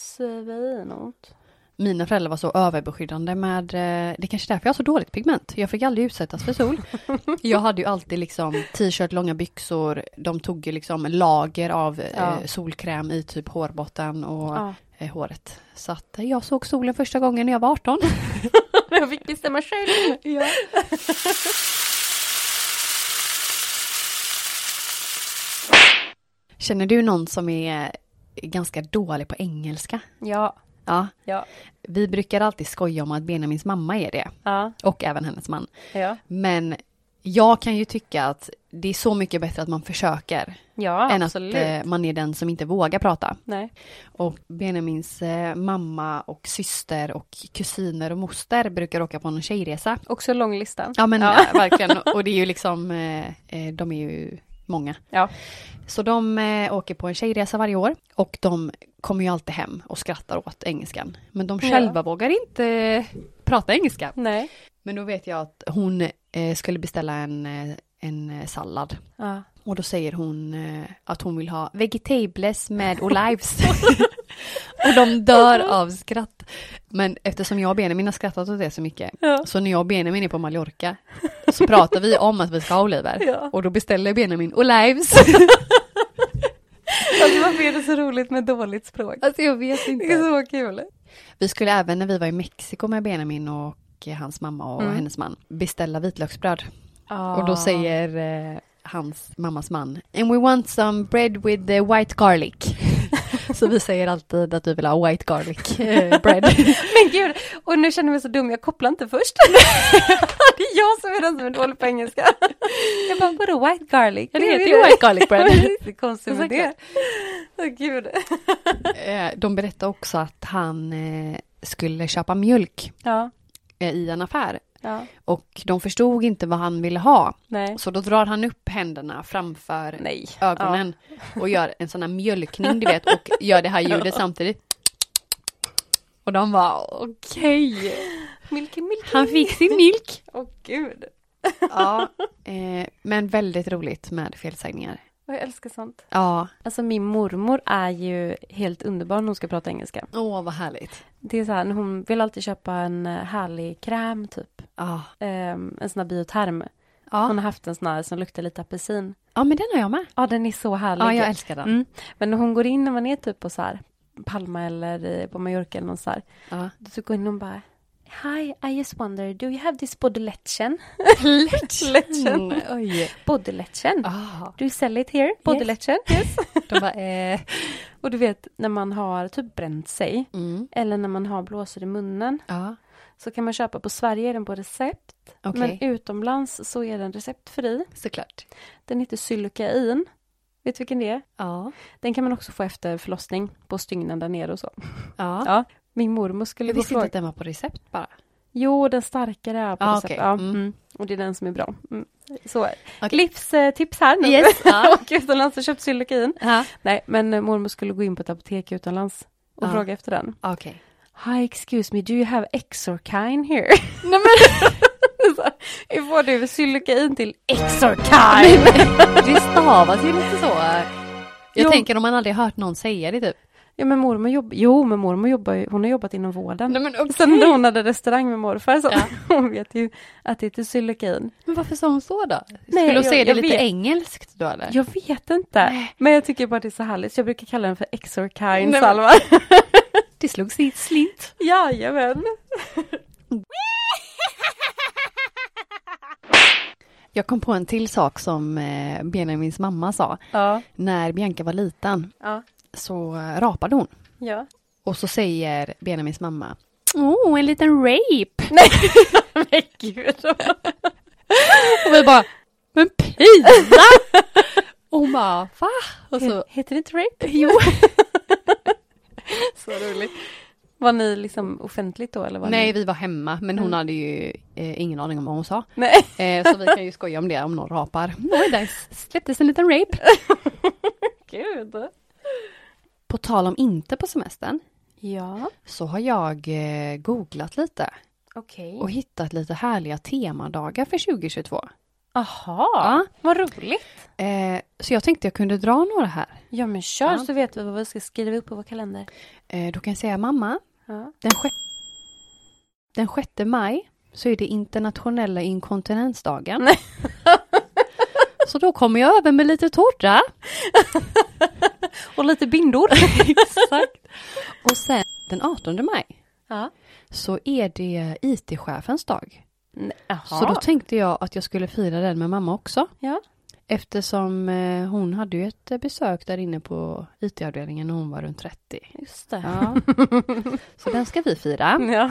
svinont. Mina föräldrar var så överbeskyddande med, eh, det är kanske är därför jag har så dåligt pigment. Jag fick aldrig utsättas för sol. Jag hade ju alltid liksom t-shirt, långa byxor, de tog ju liksom lager av eh, Ja. solkräm i typ hårbotten och Ja. eh, håret. Så att eh, jag såg solen första gången när jag var 18. Jag fick bestämma själv! ja. Känner du någon som är eh, ganska dålig på engelska? Ja, Ja. ja, Vi brukar alltid skoja om att Benjamins mamma är det. ja, Och även hennes man. ja. Men jag kan ju tycka att det är så mycket bättre att man försöker. Ja, än absolut. att eh, man är den som inte vågar prata. Nej. Och Benjamins eh, mamma och syster och kusiner och moster brukar åka på någon tjejresa. Också lång listan. Ja men Ja. eh, verkligen. Och det är ju liksom, eh, eh, de är ju många. Ja. Så de eh, åker på en tjejresa varje år och de kommer ju alltid hem och skrattar åt engelskan. Men de Ja. själva vågar inte eh, prata engelska. Nej. Men då vet jag att hon eh, skulle beställa en, eh, en eh, sallad. Ja. Och då säger hon eh, att hon vill ha vegetables med olives. och de dör av skratt. Men eftersom jag och Benjamin har skrattat åt det så mycket. Ja. Så när jag och Benjamin är på Mallorca så pratar vi om att vi ska ha oliver. Ja. Och då beställer Benjamin olives. Alltså varför är det så roligt med dåligt språk? alltså jag vet Det är så kul. Vi skulle även när vi var i Mexiko med Benjamin och eh, hans mamma och Mm. Ah. hennes man beställa vitlöksbröd. Och då säger eh, hans mammas man, and we want some bread with the white garlic. så vi säger alltid att vi vill ha white garlic eh, bread. Men gud, och nu känner jag mig så dum, jag kopplar inte först. det är jag som är den som är dålig på engelska. Jag bara, vadå white garlic? Ja, det heter ju white garlic bread. Det är konstigt med det. Åh gud. Eh, De berättade också att han eh, skulle köpa mjölk Ja, eh, i en affär. ja, Och de förstod inte vad han ville ha. nej. Så då drar han upp händerna framför Nej. ögonen och gör en sån här mjölkning du vet och gör det här ljudet samtidigt. Och de var okej. Milky, milky. Han fick sin milk. Åh gud. Ja, eh, men väldigt roligt med felsägningar. Jag älskar sånt. Ja. Alltså min mormor är ju helt underbar när hon ska prata engelska. Åh, vad härligt. Det är så här, hon vill alltid köpa en eh, härlig kräm typ. Ja. Ehm, en sån här bioterm. Hon Ja. har haft en sån här som luktar lite apelsin. ja, men den har jag med. Ja, den är så härlig. Ja, jag älskar den. Mm. Men när hon går in när man är typ på så här Palma eller eh, på Mallorca eller någon så här. Ja. Då så går hon in och bara Hi, I just wonder, do you have this bodyletchen? Lättchen. Mm, Oj. Bodyletchen? Ah. Do you sell it here? Bodyletchen? Yes. De bara, eh. och du vet, när man har typ bränt sig Mm. eller när man har blåsor i munnen Ja, så kan man köpa på Sverige, är den på recept. okej. Men utomlands så är den receptfri. Såklart. Den heter Sylkain. Vet du vilken det är? Ja. Den kan man också få efter förlossning på stygnen där nere och så. ja. Ja, min mormor skulle Jag gå och visste inte fråga. att den var på recept bara. Jo, den starkare är på Ah, recept. okej. Ja, Mm. mm. Och det är den som är bra. Mm. Så Okej. livstips här nu. Yes. Ja. och utomlands har köpt Sylokin. ja. Nej, men eh, mormor skulle gå in på ett apotek utomlands och Ja. fråga efter den. Okej. Hi, excuse me, do you have Exorkine here? Nej men. så här, Hur får du psylokain till exorcine? Det stavas ju lite så. Jag Jo. tänker om man aldrig hört någon säga det typ. ja men mormor jobbar, jo men mormor jobbar ju, hon har jobbat inom vården. men, Sen när hon hade restaurang med morfar så Ja. hon vet ju att det är till psylokain. varför sa hon så då? Skulle Nej, hon jag- säga det jag lite vet. engelskt då eller? Jag vet inte, men jag tycker bara det är så härligt så jag brukar kalla den för exorcine men- salva. Det slog sitt slint. Jajamän. Jag kom på en till sak som eh, Benjamins mamma sa. Ja. När Bianca var liten Ja. så eh, rapade hon. ja. Och så säger Benjamins mamma Oh, en liten rape! Men gud. Och vi bara Men pina! Och hon bara Va? Och så Heter det inte rape? Jo! Så roligt. Var ni liksom offentligt då eller? Var Nej, Ni... vi var hemma men hon Mm. hade ju eh, ingen aning om vad hon sa. Nej. Eh, så vi kan ju skoja om det om någon rapar. Oj, där släpptes en liten rape. Gud. På tal om inte på semestern Ja. så har jag eh, googlat lite Okej. och hittat lite härliga temadagar för 2022. Aha. Ja. Vad roligt. Eh, så jag tänkte jag kunde dra några här. Ja men kör Ja. så vet vi vad vi ska skriva upp på vår kalender. Eh, då kan jag säga mamma, Ja. den, sjätte, den 6 maj så är det internationella inkontinensdagen. så då kommer jag över med lite tårta. Och lite bindor. Exakt. Och sen den 18 maj Ja. så är det IT-chefens dag. Jaha. Så då tänkte jag att jag skulle fira den med mamma också. Ja. Eftersom eh, hon hade ju ett eh, besök där inne på IT-avdelningen när hon var runt 30. Just det. Ja. så den ska vi fira. Ja.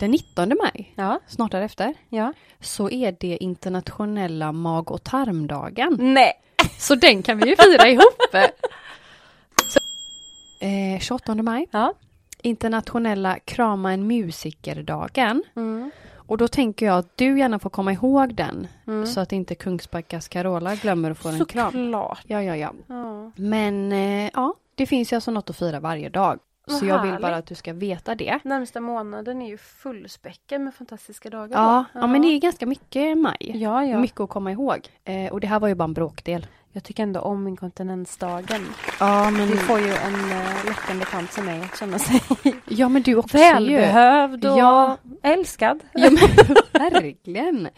Den 19 maj, Ja. snart därefter, ja. så är det internationella mag och tarmdagen. Nej. Så den kan Mm. vi ju fira ihop! Så, eh, 28 maj, Ja. internationella krama en musikerdagen. Mm. Och då tänker jag att du gärna får komma ihåg den. Mm. Så att inte Kungsbackas Carola glömmer att få en kram. Såklart. Ja, ja, ja. Ja. Men eh, ja, det finns ju alltså något att fira varje dag. Vad så jag vill härligt. bara att du ska veta det. Närmsta månaden är ju fullspäckad med fantastiska dagar. Ja, då. ja, men det är ganska mycket maj. Ja, ja. Mycket att komma ihåg. Eh, och det här var ju bara en bråkdel. Jag tycker ändå om inkontinensdagen. Ja, men, Det får ju en uh, läckande kant som mig att känna sig ja, men du också ju. välbehövd och Ja. älskad. Ja, men, verkligen.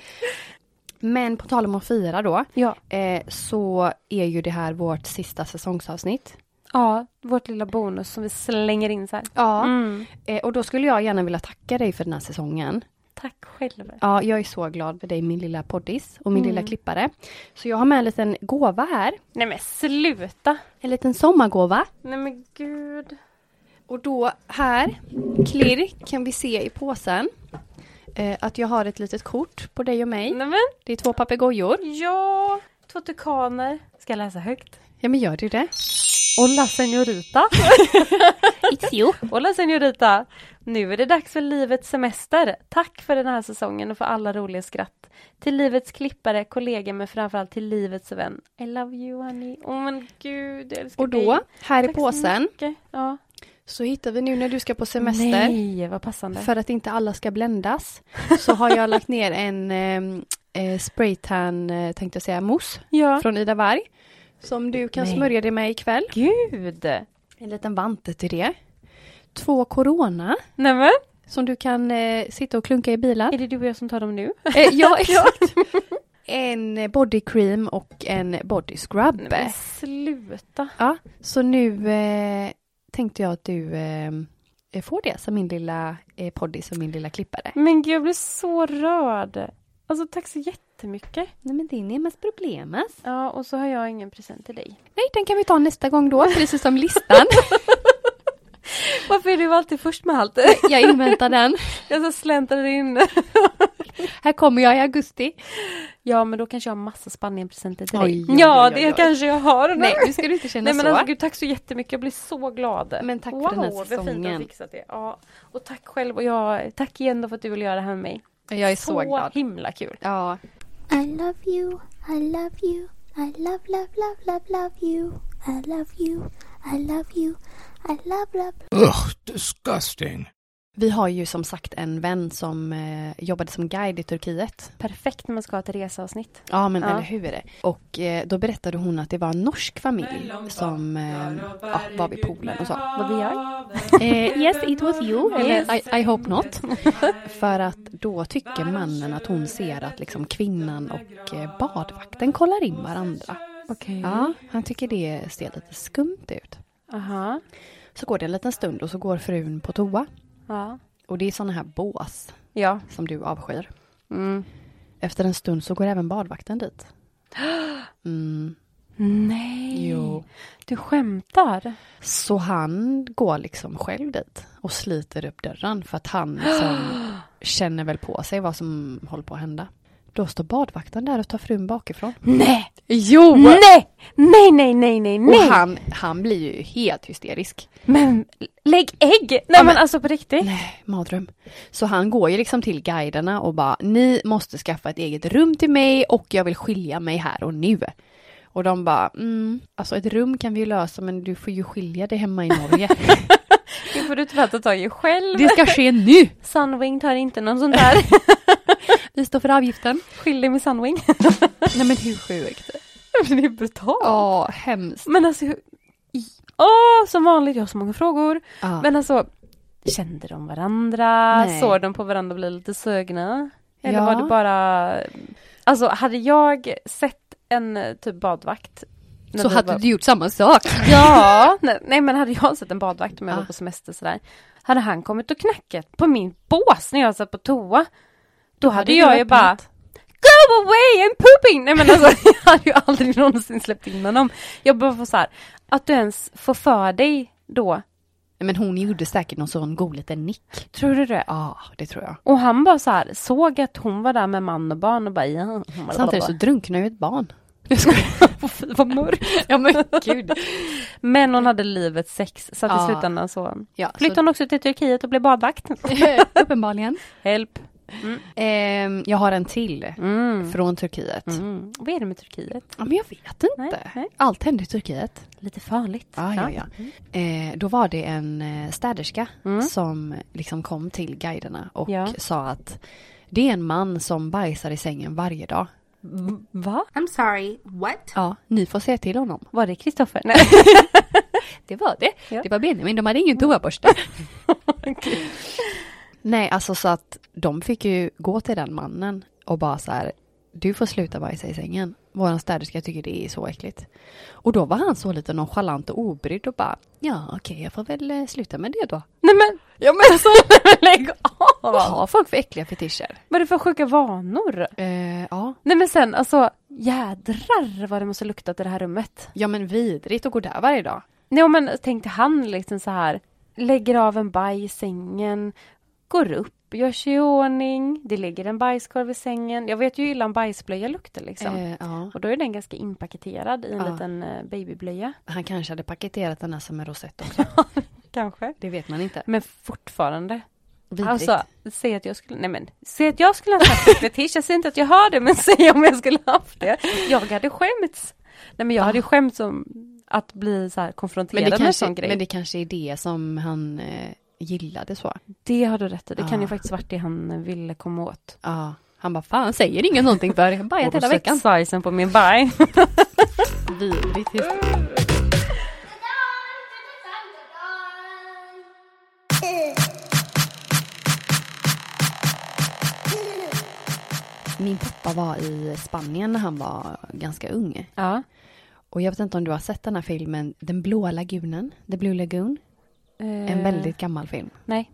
Men på tal om att fira då. Ja. Eh, så är ju det här vårt sista säsongsavsnitt. ja, vårt lilla bonus som vi slänger in så här. Ja. Mm. Eh, och då skulle jag gärna vilja tacka dig för den här säsongen. Tack själv. Ja, jag är så glad för dig min lilla poddis och min Mm. lilla klippare. Så jag har med en liten gåva här. Nej men sluta! En liten sommargåva. Nej men gud. Och då här, klirr, kan vi se i påsen. Eh, att jag har ett litet kort på dig och mig. Nej men Det är två papegojor. ja! Två tukaner. Ska jag läsa högt? Ja men gör du det? Hola señorita! It's you. Hola señorita! Nu är det dags för livets semester. Tack för den här säsongen och för alla roliga skratt. Till livets klippare, kollegor men framförallt till livets vän. I love you honey. Åh oh, men gud, jag älskar Och dig. då, här i Tack så påsen, mycket. Ja. så hittar vi nu när du ska på semester. Nej, vad passande. För att inte alla ska bländas så har jag lagt ner en ehm, eh, spraytan, eh, tänkte jag säga, mousse Ja. från Ida Varg. Som du kan Nej. smörja dig med ikväll. Gud! En liten vante till det. Två Corona Nämen, som du kan eh, sitta och klunka i bilen. är det du och jag som tar dem nu? Eh, ja, exakt. En eh, body cream och en body scrub. Men sluta! Ja, så nu eh, tänkte jag att du eh, får det som min lilla eh, poddis och min lilla klippare. Men gud, jag blir så rörd. Alltså tack så jättemycket. Nej men det är mest problemet. Ja, och så har jag ingen present till dig. Nej, den kan vi ta nästa gång då, precis som listan. Varför är du alltid först med allt? Jag inväntar den. Jag så släntrar in. Här kommer jag i augusti. Ja, men då kanske jag har massa Spanien-presenter till Oj, dig. oj, ja, oj, oj, det oj. kanske jag har. Nej, nu ska du inte känna Nej men så. alltså gud, tack så jättemycket. Jag blir så glad. Men tack för wow, den här vad fint att säsongen. du fixat det. Ja, och tack själv och jag, tack igen då för att du vill göra det här med mig. jag är så, glad. himla kul. Ja. I love you. I love you. I love, love, love, love, love you. I love you. I love you. I love, love. Ugh, disgusting. Vi har ju som sagt en vän som eh, jobbade som guide i Turkiet. Perfekt när man ska ha ett reseavsnitt. Ja men Ja. eller hur? Och eh, då berättade hon att det var en norsk familj som eh, ja, var vid poolen och så. Var det jag? Eh, yes it was you, eller Yes. I, I hope not. För att då tycker mannen att hon ser att liksom kvinnan och eh, badvakten kollar in varandra. Okej. Ja, han tycker det ser lite skumt ut. Aha. Så går det en liten stund och så går frun på toa. Ja. Och det är sådana här bås Ja. som du avskyr. Mm. Efter en stund så går även badvakten dit. Mm, Nej. jo. Du skämtar? Så han går liksom själv dit och sliter upp dörren för att han liksom känner väl på sig vad som håller på att hända. Då står badvakten där och tar frun bakifrån. Nej! Jo! Nej! Nej, nej, nej, nej, Och nej! han, han blir ju helt hysterisk. Men lägg ägg! Nej men, alltså på riktigt. Nej, mardröm. Så han går ju liksom till guiderna och bara, ni måste skaffa ett eget rum till mig och jag vill skilja mig här och nu. Och de bara, mm, alltså ett rum kan vi ju lösa men du får ju skilja dig hemma i Norge. Det får du tyvärr ta tag i själv. Det ska ske nu! Sunwing tar inte någon sån där. Vi står för avgiften. Skyll dig med Sunwing. Nej men hur sjukt? det är brutalt. Ja, hemskt. Men alltså, hur- i- åh som vanligt, jag har så många frågor. Ja. Men alltså, kände de varandra? Nej. Såg de på varandra och blev lite sugna? Eller Ja. var det bara... Alltså hade jag sett en eh, typ badvakt när så vi hade var- du gjort samma sak. Ja, nej, nej men hade jag sett en badvakt om jag Ja. var på semester sådär, hade han kommit och knackat på min bås när jag satt på toa, då hade, hade du jag ju öppnat. bara Go away I'm pooping! Nej men alltså jag hade ju aldrig någonsin släppt in honom. Jag bara får såhär, att du ens får för dig då, Nej, Men hon gjorde säkert någon sån god liten nick. tror du det? Ja, det tror jag. Och han bara så här, såg att hon var där med man och barn och bara ja. hon bara, Samtidigt så bara, drunknar ju ett barn. bara, fy, vad mörkt. Ja men gud. Men hon hade livet sex så att Ja. Alltså- i slutändan så Ja, flyttade hon också till Turkiet och blev badvakt. så, uppenbarligen. Help. Ehm, jag har en till från Turkiet. Mm. Vad är det med Turkiet? Ja, men jag vet inte. Nej, nej. Allt hände i Turkiet. Lite farligt. Eh, då var det en eh, städerska som liksom kom till guiderna och Mm. Ja. sa att det är en man som bajsar i sängen varje dag. Va? I'm sorry, what? Ja, ni får se till honom. Var det Kristoffer? Nej. Det var det. Ja. Det var Benjamin, de hade ingen toaborste. Nej, alltså så att de fick ju gå till den mannen och bara så här, du får sluta bajsa i sängen. Våran städerska tycker det är så äckligt. Och då var han så lite nonchalant och obrydd och bara, ja okej jag får väl eh, sluta med det då. Nej men, ja, men alltså, lägg av! Vad har folk för äckliga fetischer? Vad är det för sjuka vanor? Eh, ja. Nej men sen alltså, jädrar vad det måste luktat i det här rummet. ja men vidrigt att gå där varje dag. Nej men tänkte han liksom så här, lägger av en baj i sängen, går upp, gör sig i ordning, det ligger en bajskorv i sängen. Jag vet ju hur illa en bajsblöja luktar liksom. Eh, ja. Och då är den ganska inpaketerad i en Ja. liten eh, babyblöja. Han kanske hade paketerat den här som en rosett också. Kanske. Det vet man inte. Men fortfarande. Vidrigt. Alltså, säg att jag skulle, nej men, säg att jag skulle ha haft en fetisch, jag säger inte att jag har det, men säg om jag skulle ha haft det. Jag hade skämts. Nej men jag hade ju skämts om att bli så här konfronterad Ah. Men det, med en kanske, sån grej. men det, det kanske är det som han eh, gillade så. har du rätt i, det kan ju Ja. faktiskt varit det han ville komma åt. Ja. Han bara, fan säger ingen någonting för jag bajat hela veckan. svajsen på min baj. Vidrigt. Min pappa var i Spanien när han var ganska ung. Ja. Och jag vet inte om du har sett den här filmen Den blåa lagunen, The Blue Lagoon. En väldigt gammal film. Eh, Nej.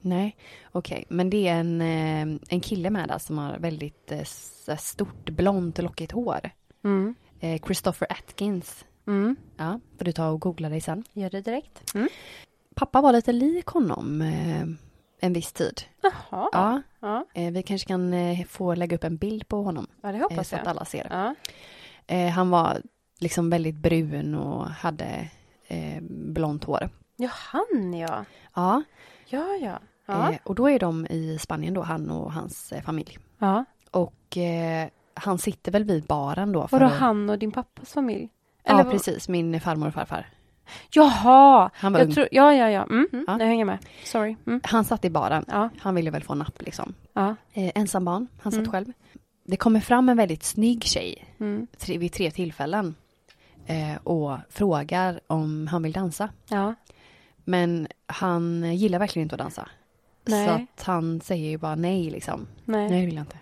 Nej, okej. Men det är en, eh, en kille med där som har väldigt eh, s- stort blont lockigt hår. Mm. Eh, Christopher Atkins. Mm. Ja, får du ta och googla dig sen. Gör det direkt. Pappa var lite lik honom eh, en viss tid. Jaha. Ja. Ja. Eh, vi kanske kan eh, få lägga upp en bild på honom ja, det eh, hoppas så att jag. alla ser. Ja. Eh, han var liksom väldigt brun och hade eh, blont hår. ja, han ja. Ja, Ja, ja. Ja. Eh, och då är de i Spanien då, han och hans eh, familj. ja. Och eh, han sitter väl vid baren då. för Vadå att- han och din pappas familj? Ja, vad- precis. Min farmor och farfar. Jaha! Han var Jag ung. tror, ja, ja, ja. Mm, mm, Ja. Jag hänger med. Sorry. Mm, Han satt i baren. ja, Han ville väl få napp liksom. ja. Eh, ensam barn. Han satt Mm. själv. Det kommer fram en väldigt snygg tjej Mm, tre, vid tre tillfällen. Eh, och frågar om han vill dansa. ja. Men han gillar verkligen inte att dansa. Nej. Så att han säger ju bara nej liksom. Nej. Nej, det vill jag inte.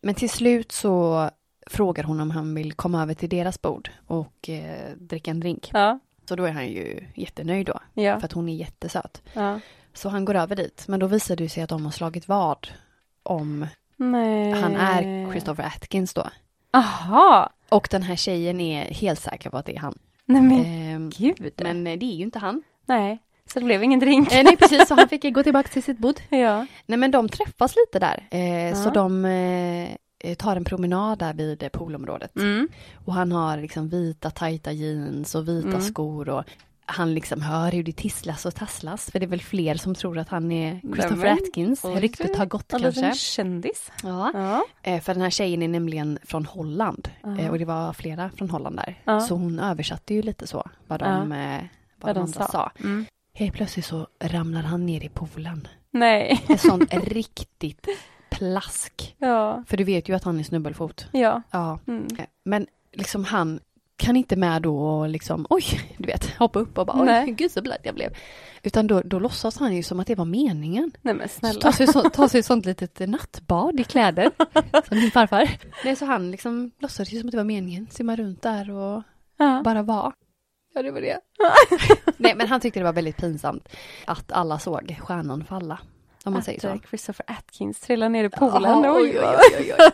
Men till slut så frågar hon om han vill komma över till deras bord och eh, dricka en drink. Ja, Så då är han ju jättenöjd då, ja, för att hon är jättesöt. ja. Så han går över dit, men då visar det sig att de har slagit vad om Nej. han Eh. är Christopher Atkins då. Aha! Och den här tjejen är helt säker på att det är han. Nej men Ehm, gud. men eh, det är ju inte han. Nej, så det blev ingen drink. Eh, nej, precis, så han fick eh, gå tillbaka till sitt bord. Ja. Nej, men de träffas lite där. Eh, Så Ja. de eh, tar en promenad där vid eh, poolområdet. Mm. Och han har liksom vita tajta jeans och vita Mm. skor och han liksom hör hur det tisslas och tasslas. För det är väl fler som tror att han är Christopher Nämen. Atkins. Oj. Ryktet har gått En kanske. liten kändis. Ja. Ja. Eh, För den här tjejen är nämligen från Holland. Ja. Eh, Och det var flera från Holland där. Ja. Så hon översatte ju lite så vad de, Ja. eh, vad de andra sa. Mm. Helt plötsligt så ramlar han ner i poolen. Nej. Ett sånt riktigt plask. Ja. För du vet ju att han är snubbelfot. Ja. Ja. Mm. Men liksom han kan inte med då och liksom oj, du vet, hoppa upp och bara oj, Nej. gud så blöt jag blev. Utan då, då låtsas han ju som att det var meningen. Nej men Så snälla. tar sig, så, tar sig ett sånt litet nattbad i kläder, som min farfar. Nej, så han liksom låtsades ju som att det var meningen, simma runt där och Ja. bara vara. Ja, det var det. Nej, men han tyckte det var väldigt pinsamt att alla såg stjärnan falla. Om man säger Att eh, så. Christopher Atkins trillar ner i poolen. Ja, oj, oj, oj, oj.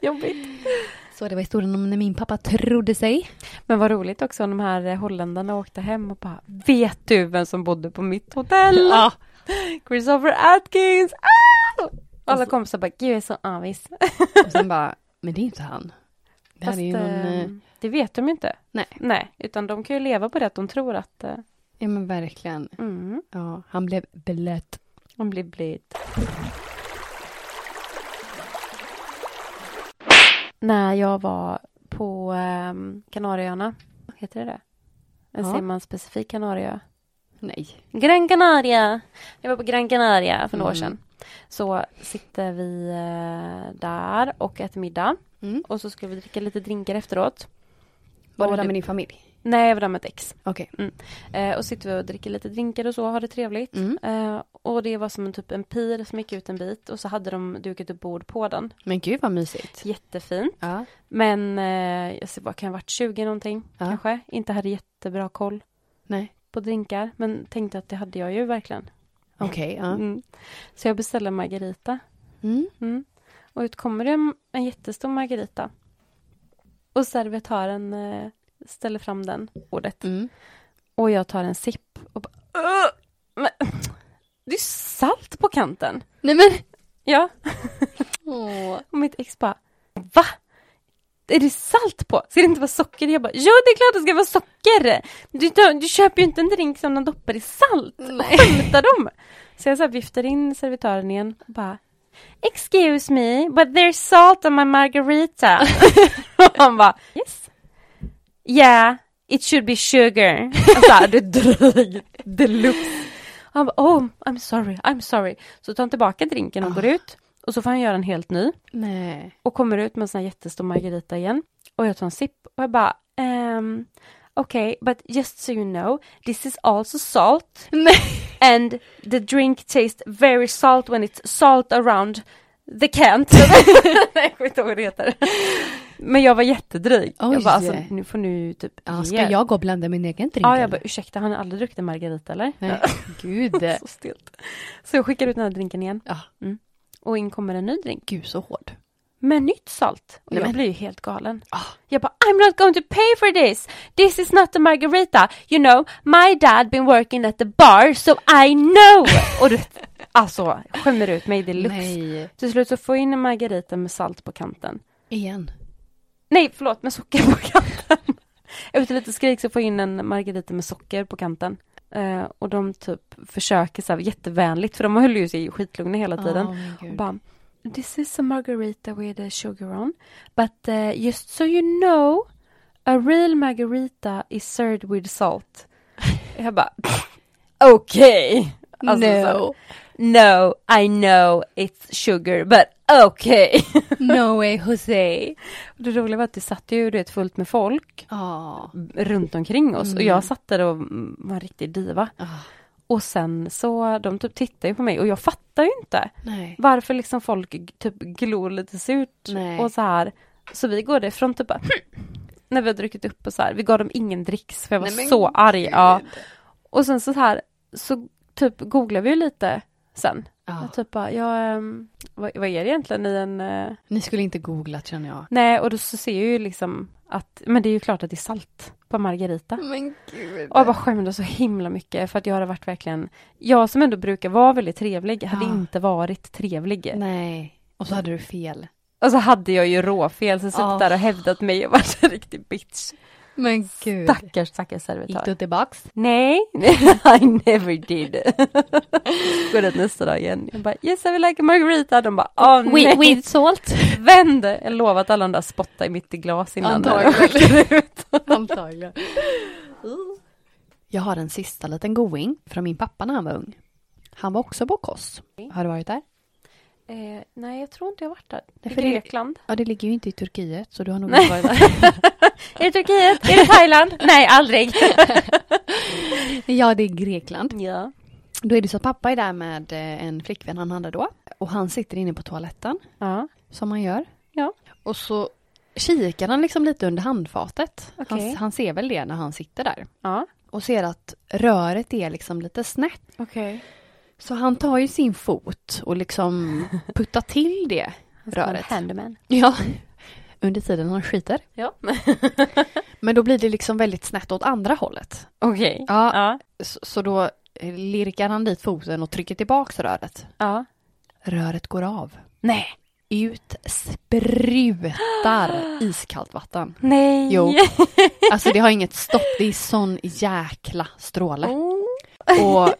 Jobbigt. Så det var historien om när min pappa trodde sig. Men vad roligt också om de här eh, holländarna åkte hem och bara Vet du vem som bodde på mitt hotell? Ja. Christopher Atkins! Ah! Alla kompisar bara, gud jag är så avis. Och sen bara, men Alltså- det är inte han. Det här Fast är ju någon, eh, ehm, det vet de ju inte. Nej. Nej, utan de kan ju leva på det att de tror att eh, ja men verkligen. mm, Ja, han blev blöt. de blir blid. När jag var på um, Kanarieöarna, heter det det? Ja. Eller Ser man specifik Kanarieö? Nej. Gran Canaria! Jag var på Gran Canaria för några år Mm. sedan. Så sitter vi eh, där och äter middag. Mm. Och så ska vi dricka lite drinkar efteråt. Var Och det där det- med din familj? Nej, jag var där med ett ex. Okej. Eh, och sitter vi och dricker lite drinkar och så, har det trevligt. Mm. Eh, och det var som en typ en pir som gick ut en bit och så hade de dukat upp bord på den. Men gud vad mysigt. Jättefin. Ja. Men eh, jag ser bara, kan jag ha varit 20 någonting Ja. kanske? Inte hade jättebra koll Nej. på drinkar. Men tänkte att det hade jag ju verkligen. Okej, ja. Mm. Så jag beställde en margarita. Mm. Mm. Och ut kommer det en, en jättestor margarita. Och servitören eh, ställer fram den, bordet. Mm. Och jag tar en sipp och bara... "Ugh! Men, det är salt på kanten! Nej men! Ja, Åh. och mitt ex bara... Va? Är det salt på? Ska det inte vara socker? Jag bara, ja det är klart det ska vara socker! Du, tar- du köper ju inte en drink som de doppar i salt! Skämtar de? Så jag så här viftar in servitören igen och bara Excuse me, but there's salt on my margarita. och han bara Yes. Yeah, it should be sugar. Alltså här, det dröj deluxe. Och han bara Oh, I'm sorry, I'm sorry. Så tar han tillbaka drinken och går ut. Och så får han göra en helt ny. Nej. Och kommer ut med en sån här jättestor margarita igen. Och jag tar en sipp och jag bara ehm, Okej, okay, but just so you know, this is also salt. Nej. And the drink tastes very salt when it's salt around the cant. Nej, jag kommer inte ihåg vad det heter. Men jag var jättedryg. jag Oj. bara, alltså, nu får nu typ Ja, ge ska er. jag gå och blanda min egen drink? Ja, eller? jag bara, ursäkta, har ni aldrig druckit en margarita eller? Nej. Gud. Så stelt. Så jag skickar ut den här drinken igen. Ja. Mm. Och in kommer en ny drink Gud så hård. med nytt salt. Och Nej, jag men- blir ju helt galen. Ah. Jag bara, I'm not going to pay for this! This is not a margarita! You know, my dad been working at the bar, so I know! och du vet, alltså, skämmer ut mig deluxe. Nej. Till slut så får jag in en margarita med salt på kanten. Igen. Nej, förlåt, med socker på kanten. Efter lite skrik så får jag in en margarita med socker på kanten. Eh, och de typ försöker så här jättevänligt, för de höll ju sig skitlugna hela tiden. Och bara, This is a margarita with a sugar on. But eh, uh, just so you know, a real margarita is served with salt. Jag bara, okej. Alltså, så, no. no, I know it's sugar but okay. no way Oh, Jose. Det roliga var att det satt ju du vet, fullt med folk Ja. runt omkring oss och Mm. jag satt där och mm, var en riktig diva. Ah. Och sen så, de typ tittar ju på mig och jag fattar ju inte Nej. varför liksom folk g- typ glor lite surt Nej. och så här. Så vi går därifrån typ bara, när vi har druckit upp och så här. Vi gav dem ingen dricks för jag var Nej, men så arg. Ja. Och sen så här, så typ googlar vi ju lite sen. Ja. Jag typ bara, ja, ehm, vad, vad är det egentligen i en... eh, Ni skulle inte googla känner jag. Nej, och då så ser jag ju liksom att, men det är ju klart att det är salt på Margarita. Men gud. Och jag bara skämdes så himla mycket för att jag hade varit verkligen, jag som ändå brukar vara väldigt trevlig, hade Ja. inte varit trevlig. Nej. Och så hade du fel. Och så hade jag ju råfel, så suttit Ah. där och hävdat mig och varit en riktig bitch. Men gud. Stackars, stackars Gick servitör. du tillbaks? Nej, I never did. Går det nästa dag igen. Jag bara, yes I will like a margarita. De bara, åh nej, salt. vänd. Jag lovar att alla de där spottade mitt i glas innan. Antagligen. Antagligen. Jag har en sista liten going från min pappa när han var ung. Han var också på Kos. Har du varit där? Eh, nej, jag tror inte jag varit där. Nej, I för det- Grekland? Ja, det ligger ju inte i Turkiet så du har nog Nej. inte varit där. Är det Turkiet? Är det Thailand? nej, aldrig. ja, det är Grekland. Ja. Då är det så att pappa är där med eh, en flickvän han hade då. Och han sitter inne på toaletten, Ja. som han gör. Ja. Och så kikar han liksom lite under handfatet. Okej. Han, han ser väl det när han sitter där. Ja. Och ser att röret är liksom lite snett. Okej. Så han tar ju sin fot och liksom puttar till det röret. Handyman. Ja. Under tiden han skiter. Ja. Men då blir det liksom väldigt snett åt andra hållet. Okej. Ja. Ja. Så, så då eh, lirkar han dit foten och trycker tillbaks röret. ja. Röret går av. Nej. Ut sprutar iskallt vatten. Nej. Jo. Alltså det har inget stopp, det är sån jäkla stråle. Oh. Och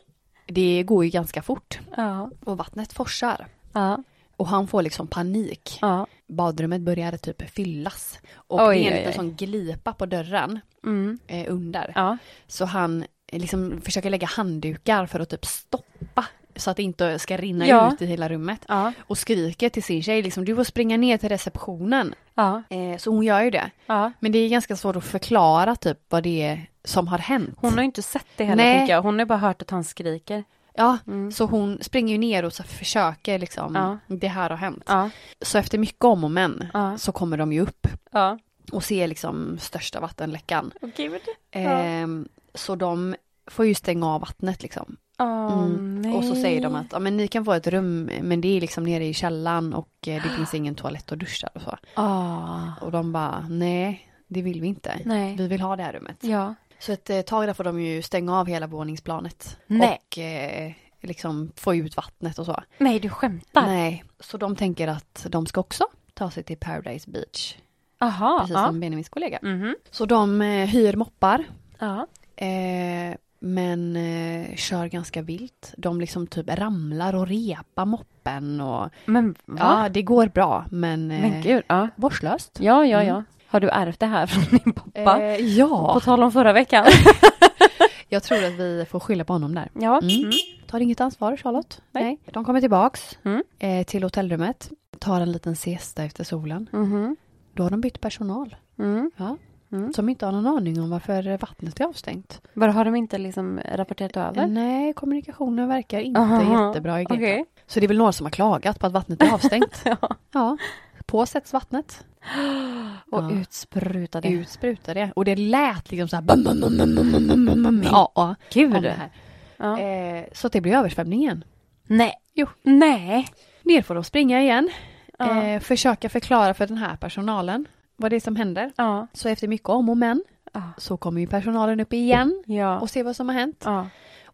det går ju ganska fort. Ja. Och vattnet forsar. Ja. Och han får liksom panik. Ja. Badrummet började typ fyllas. Och Oj, det är en oj, liten oj. sån glipa på dörren Mm. eh, under. Ja. Så han eh, liksom försöker lägga handdukar för att typ stoppa så att det inte ska rinna Ja. ut i hela rummet. Ja. Och skriker till sin tjej liksom, du får springa ner till receptionen. Ja. Eh, så hon gör ju det. Ja. Men det är ganska svårt att förklara typ vad det är som har hänt. Hon har ju inte sett det heller, Nej. tänker jag. Hon har ju bara hört att han skriker. Ja, Mm. så hon springer ju ner och så försöker liksom, Ja. det här har hänt. Ja. Så efter mycket om och men Ja. så kommer de ju upp Ja. och ser liksom största vattenläckan. Okej, men det... Ehm, så de får ju stänga av vattnet liksom. Åh, Mm. nej. Och så säger de att ja, men ni kan få ett rum, men det är liksom nere i källaren och eh, det finns ingen toalett och duschar och så. Ah. Och de bara, nej, det vill vi inte. Nej. Vi vill ha det här rummet. Ja. Så ett eh, tag där får de ju stänga av hela våningsplanet. Nej. Och eh, liksom få ut vattnet och så. Nej, du skämtar. Nej. Så de tänker att de ska också ta sig till Paradise Beach. Aha. Precis ja. som Benjamins kollega. Mhm. Så de eh, hyr moppar. Ja. Eh, men eh, kör ganska vilt. De liksom typ ramlar och repar moppen och Men va? ja, det går bra men, eh, Men gud. Ja. vårdslöst. Ja, ja, Mm. ja. Har du ärvt det här från din pappa? Eh, På ja, tal om förra veckan. jag tror att vi får skylla på honom där. ja. Mm. Mm. Tar inget ansvar Charlotte. Nej. De kommer tillbaks Mm. eh, till hotellrummet, tar en liten siesta efter solen. Mhm. Då har de bytt personal Mm. som inte har någon aning om varför vattnet är avstängt. Bara har de inte liksom rapporterat över? Nej, kommunikationen verkar inte Aha. jättebra i Grekland. Okej. Så det är väl några som har klagat på att vattnet är avstängt. Ja. ja. På sätts vattnet. Och Ja. utsprutade. Ut sprutar det. Och det lät liksom så här. Bum, bum, bum, bum, bum, bum, bum, bum. Ja, ja. Gud. Om det här. Ja. Eh, så att det blir översvämning igen. Nej. Jo. Nej. Ner får de springa igen. Ja. Eh, försöka förklara för den här personalen vad det är som händer. Ja. Så efter mycket om och men Ja. så kommer ju personalen upp igen Ja. och ser vad som har hänt ja.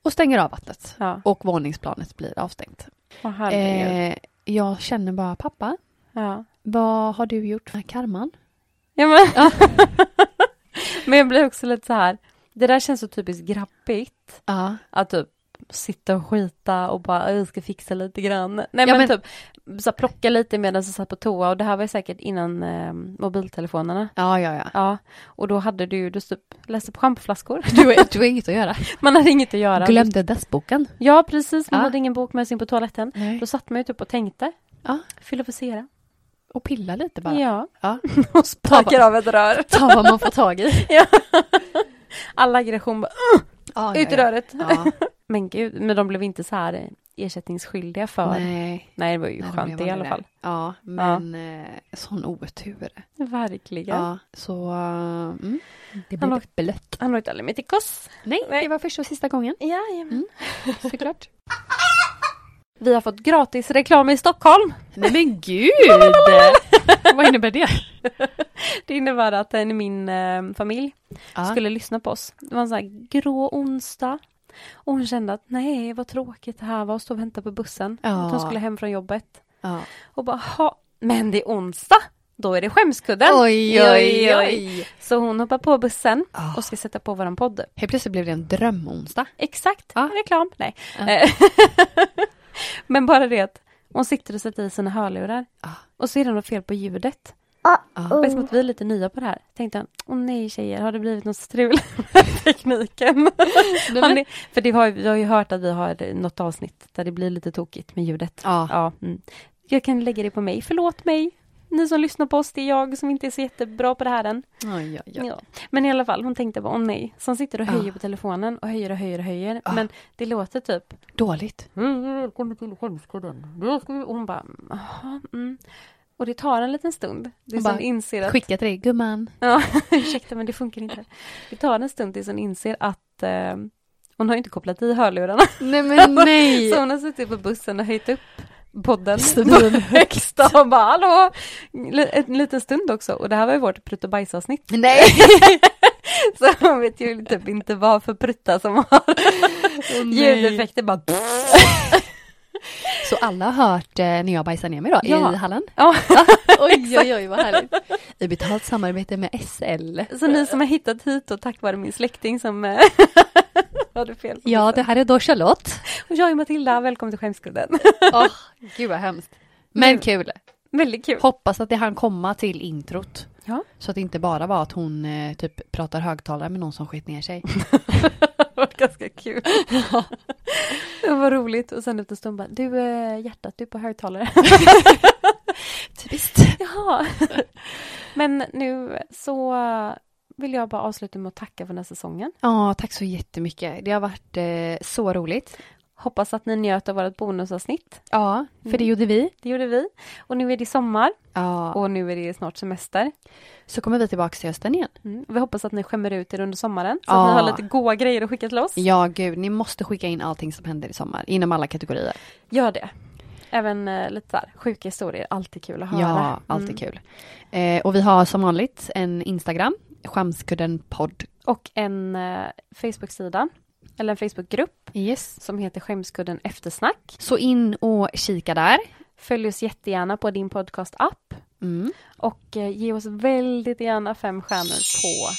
och stänger av vattnet. ja. Och våningsplanet blir avstängt. Åh, herregud. Eh, jag känner bara pappa, Ja. vad har du gjort med karman? Ja, men. men jag blir också lite så här. Det där känns så typiskt grabbigt. Ja, Att typ sitta och skita och bara, jag ska fixa lite grann. Nej men, men- typ, så här, plocka lite medan jag satt på toa och det här var ju säkert innan eh, mobiltelefonerna. Ja, ja, ja. Ja, och då hade du ju, du typ läste på schampoflaskor. Du, har- du har inget att göra. Man hade inget att göra. Glömde dessboken. Ja, precis, man Ja. hade ingen bok med sig in på toaletten. Nej. Då satt man ju typ och tänkte. Ja. Filosofera. Och pilla lite bara. Ja. Ja. och sparkar av ett rör. Ta vad man får tag i. All aggression bara, uh, Ja, ut i röret. Ja. Men gud, men de blev inte så här eh, ersättningsskyldiga för. Nej, Nej. det var ju Nej, skönt blev det i alla aldrig fall. där. Ja, men eh, sån otur. Verkligen. Ja, så... eh, Mm. Det blir blött. Han åkte aldrig med till Kos. Nej, Nej. det var första och sista gången. Jajamän. Såklart. Vi har fått gratis reklam i Stockholm. Nej men gud! Vad innebär det? Det innebär att eh, min eh, familj Skulle... skulle lyssna på oss. Det var en sån här grå onsdag. Och hon kände att nej, vad tråkigt det här var att stå och vänta på bussen. Ja. Att hon skulle hem från jobbet. Ja. Och bara, ha, men det är onsdag. Då är det skämskudden. Oj, oj, oj. Så hon hoppar på bussen Ah. och ska sätta på våran podd. Helt plötsligt blev det en drömonsdag. Exakt, Ja. reklam. Nej. Ja. Eh, Men bara det att hon sitter och sätter i sina hörlurar. Ja. Oh. Och så är det något fel på ljudet. Ja. Och eftersom att vi är lite nya på det här tänkte han, åh nej tjejer, har det blivit något strul med tekniken? Har ni, för det har, ju- vi har ju hört att vi har något avsnitt där det blir lite tokigt med ljudet. Ja. Ja, mm. Jag kan lägga det på mig, förlåt mig. Ni som lyssnar på oss, det är jag som inte är så jättebra på det här än. Oj, oj, oj. Ja. Ah. Men i alla fall, hon tänkte bara, åh nej. Så hon sitter och Ja. höjer på telefonen och höjer och höjer och höjer. Ja. Men det låter typ... Dåligt. Ah. Hej välkommen till Skämskudden. Och hon bara, jaha, mm. Och det tar en liten stund. Det är Hon som bara, inser att... Skicka till dig, gumman. Ja, ursäkta men det funkar inte. Det tar en stund tills hon inser att eh, hon har ju inte kopplat i hörlurarna. Nej men nej! Så hon har suttit på bussen och höjt upp podden Svinhögt. högsta och bara hallå! L- en liten stund också och det här var ju vårt prutt och bajsavsnitt. Nej! Så hon vet ju typ inte vad för prutta som har ljudeffekter bara Så alla har hört eh, när jag bajsade ner mig då Ja. i Halland? Ja. oj, oj, oj, vad härligt. I betalt samarbete med SL. Så ni som har hittat hit och tack vare min släkting som eh, hade fel. på Ja, bussen. det här är då Charlotte. Och jag är Matilda, välkommen till Skämskudden. Åh, gud vad hemskt. Men kul. Väldigt kul. Hoppas att det hann komma till introt. Ja. Så att det inte bara var att hon eh, typ pratar högtalare med någon som skit ner sig. Det var ganska kul. det var roligt. Och sen efter en stund bara, du eh, hjärtat, du är på högtalare. Typiskt. Jaha. Men nu så vill jag bara avsluta med att tacka för den här säsongen. Ja, tack så jättemycket. Det har varit eh, så roligt. Hoppas att ni njöt av vårt bonusavsnitt. Ja, för det Mm. gjorde vi. Det gjorde vi. Och nu är det sommar Ja, och nu är det snart semester. så kommer vi tillbaka till hösten igen. Mm. Vi hoppas att ni skämmer ut er under sommaren så Ja. att ni har lite goa grejer att skicka till oss. Ja, gud, ni måste skicka in allting som händer i sommar inom alla kategorier. Gör det. Även eh, lite så här, sjuka historier, alltid kul att höra. Ja, alltid Mm. kul. Eh, och vi har som vanligt en Instagram, Skämskudden podd. Och en eh, Facebook-sida, eller en Facebook-grupp Yes. som heter Skämskudden Eftersnack. Så in och kika där. Följ oss jättegärna på din podcast-app Mm. och eh, ge oss väldigt gärna fem stjärnor på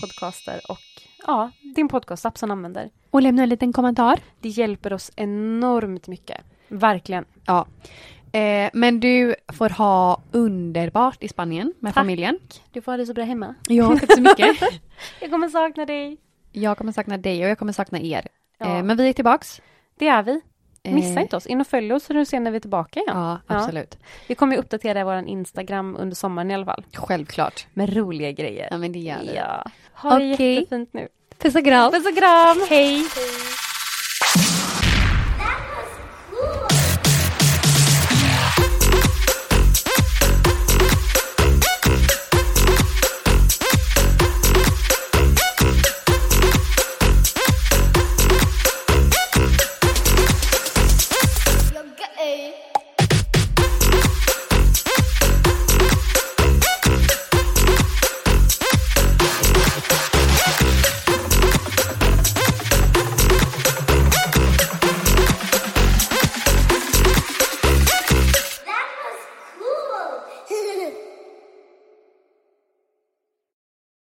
podcaster och ja, din podcast-app som du använder. Och lämna en liten kommentar. Det hjälper oss enormt mycket. Verkligen. Ja. Eh, men du får ha underbart i Spanien med Tack. familjen. Du får ha det så bra hemma. Ja, tack så mycket. Jag kommer sakna dig. jag kommer sakna dig och jag kommer sakna er. Ja. Eh, men vi är tillbaks. Det är vi. Eh, Missa inte oss. In och följ oss så du ser när vi är tillbaka igen. Ja, absolut. Vi kommer ju uppdatera vår Instagram under sommaren i alla fall. Självklart. Med roliga grejer. Ja, men det gör vi. Ja. Ha det Okej. jättefint nu. Puss och kram. Puss och kram. Hej.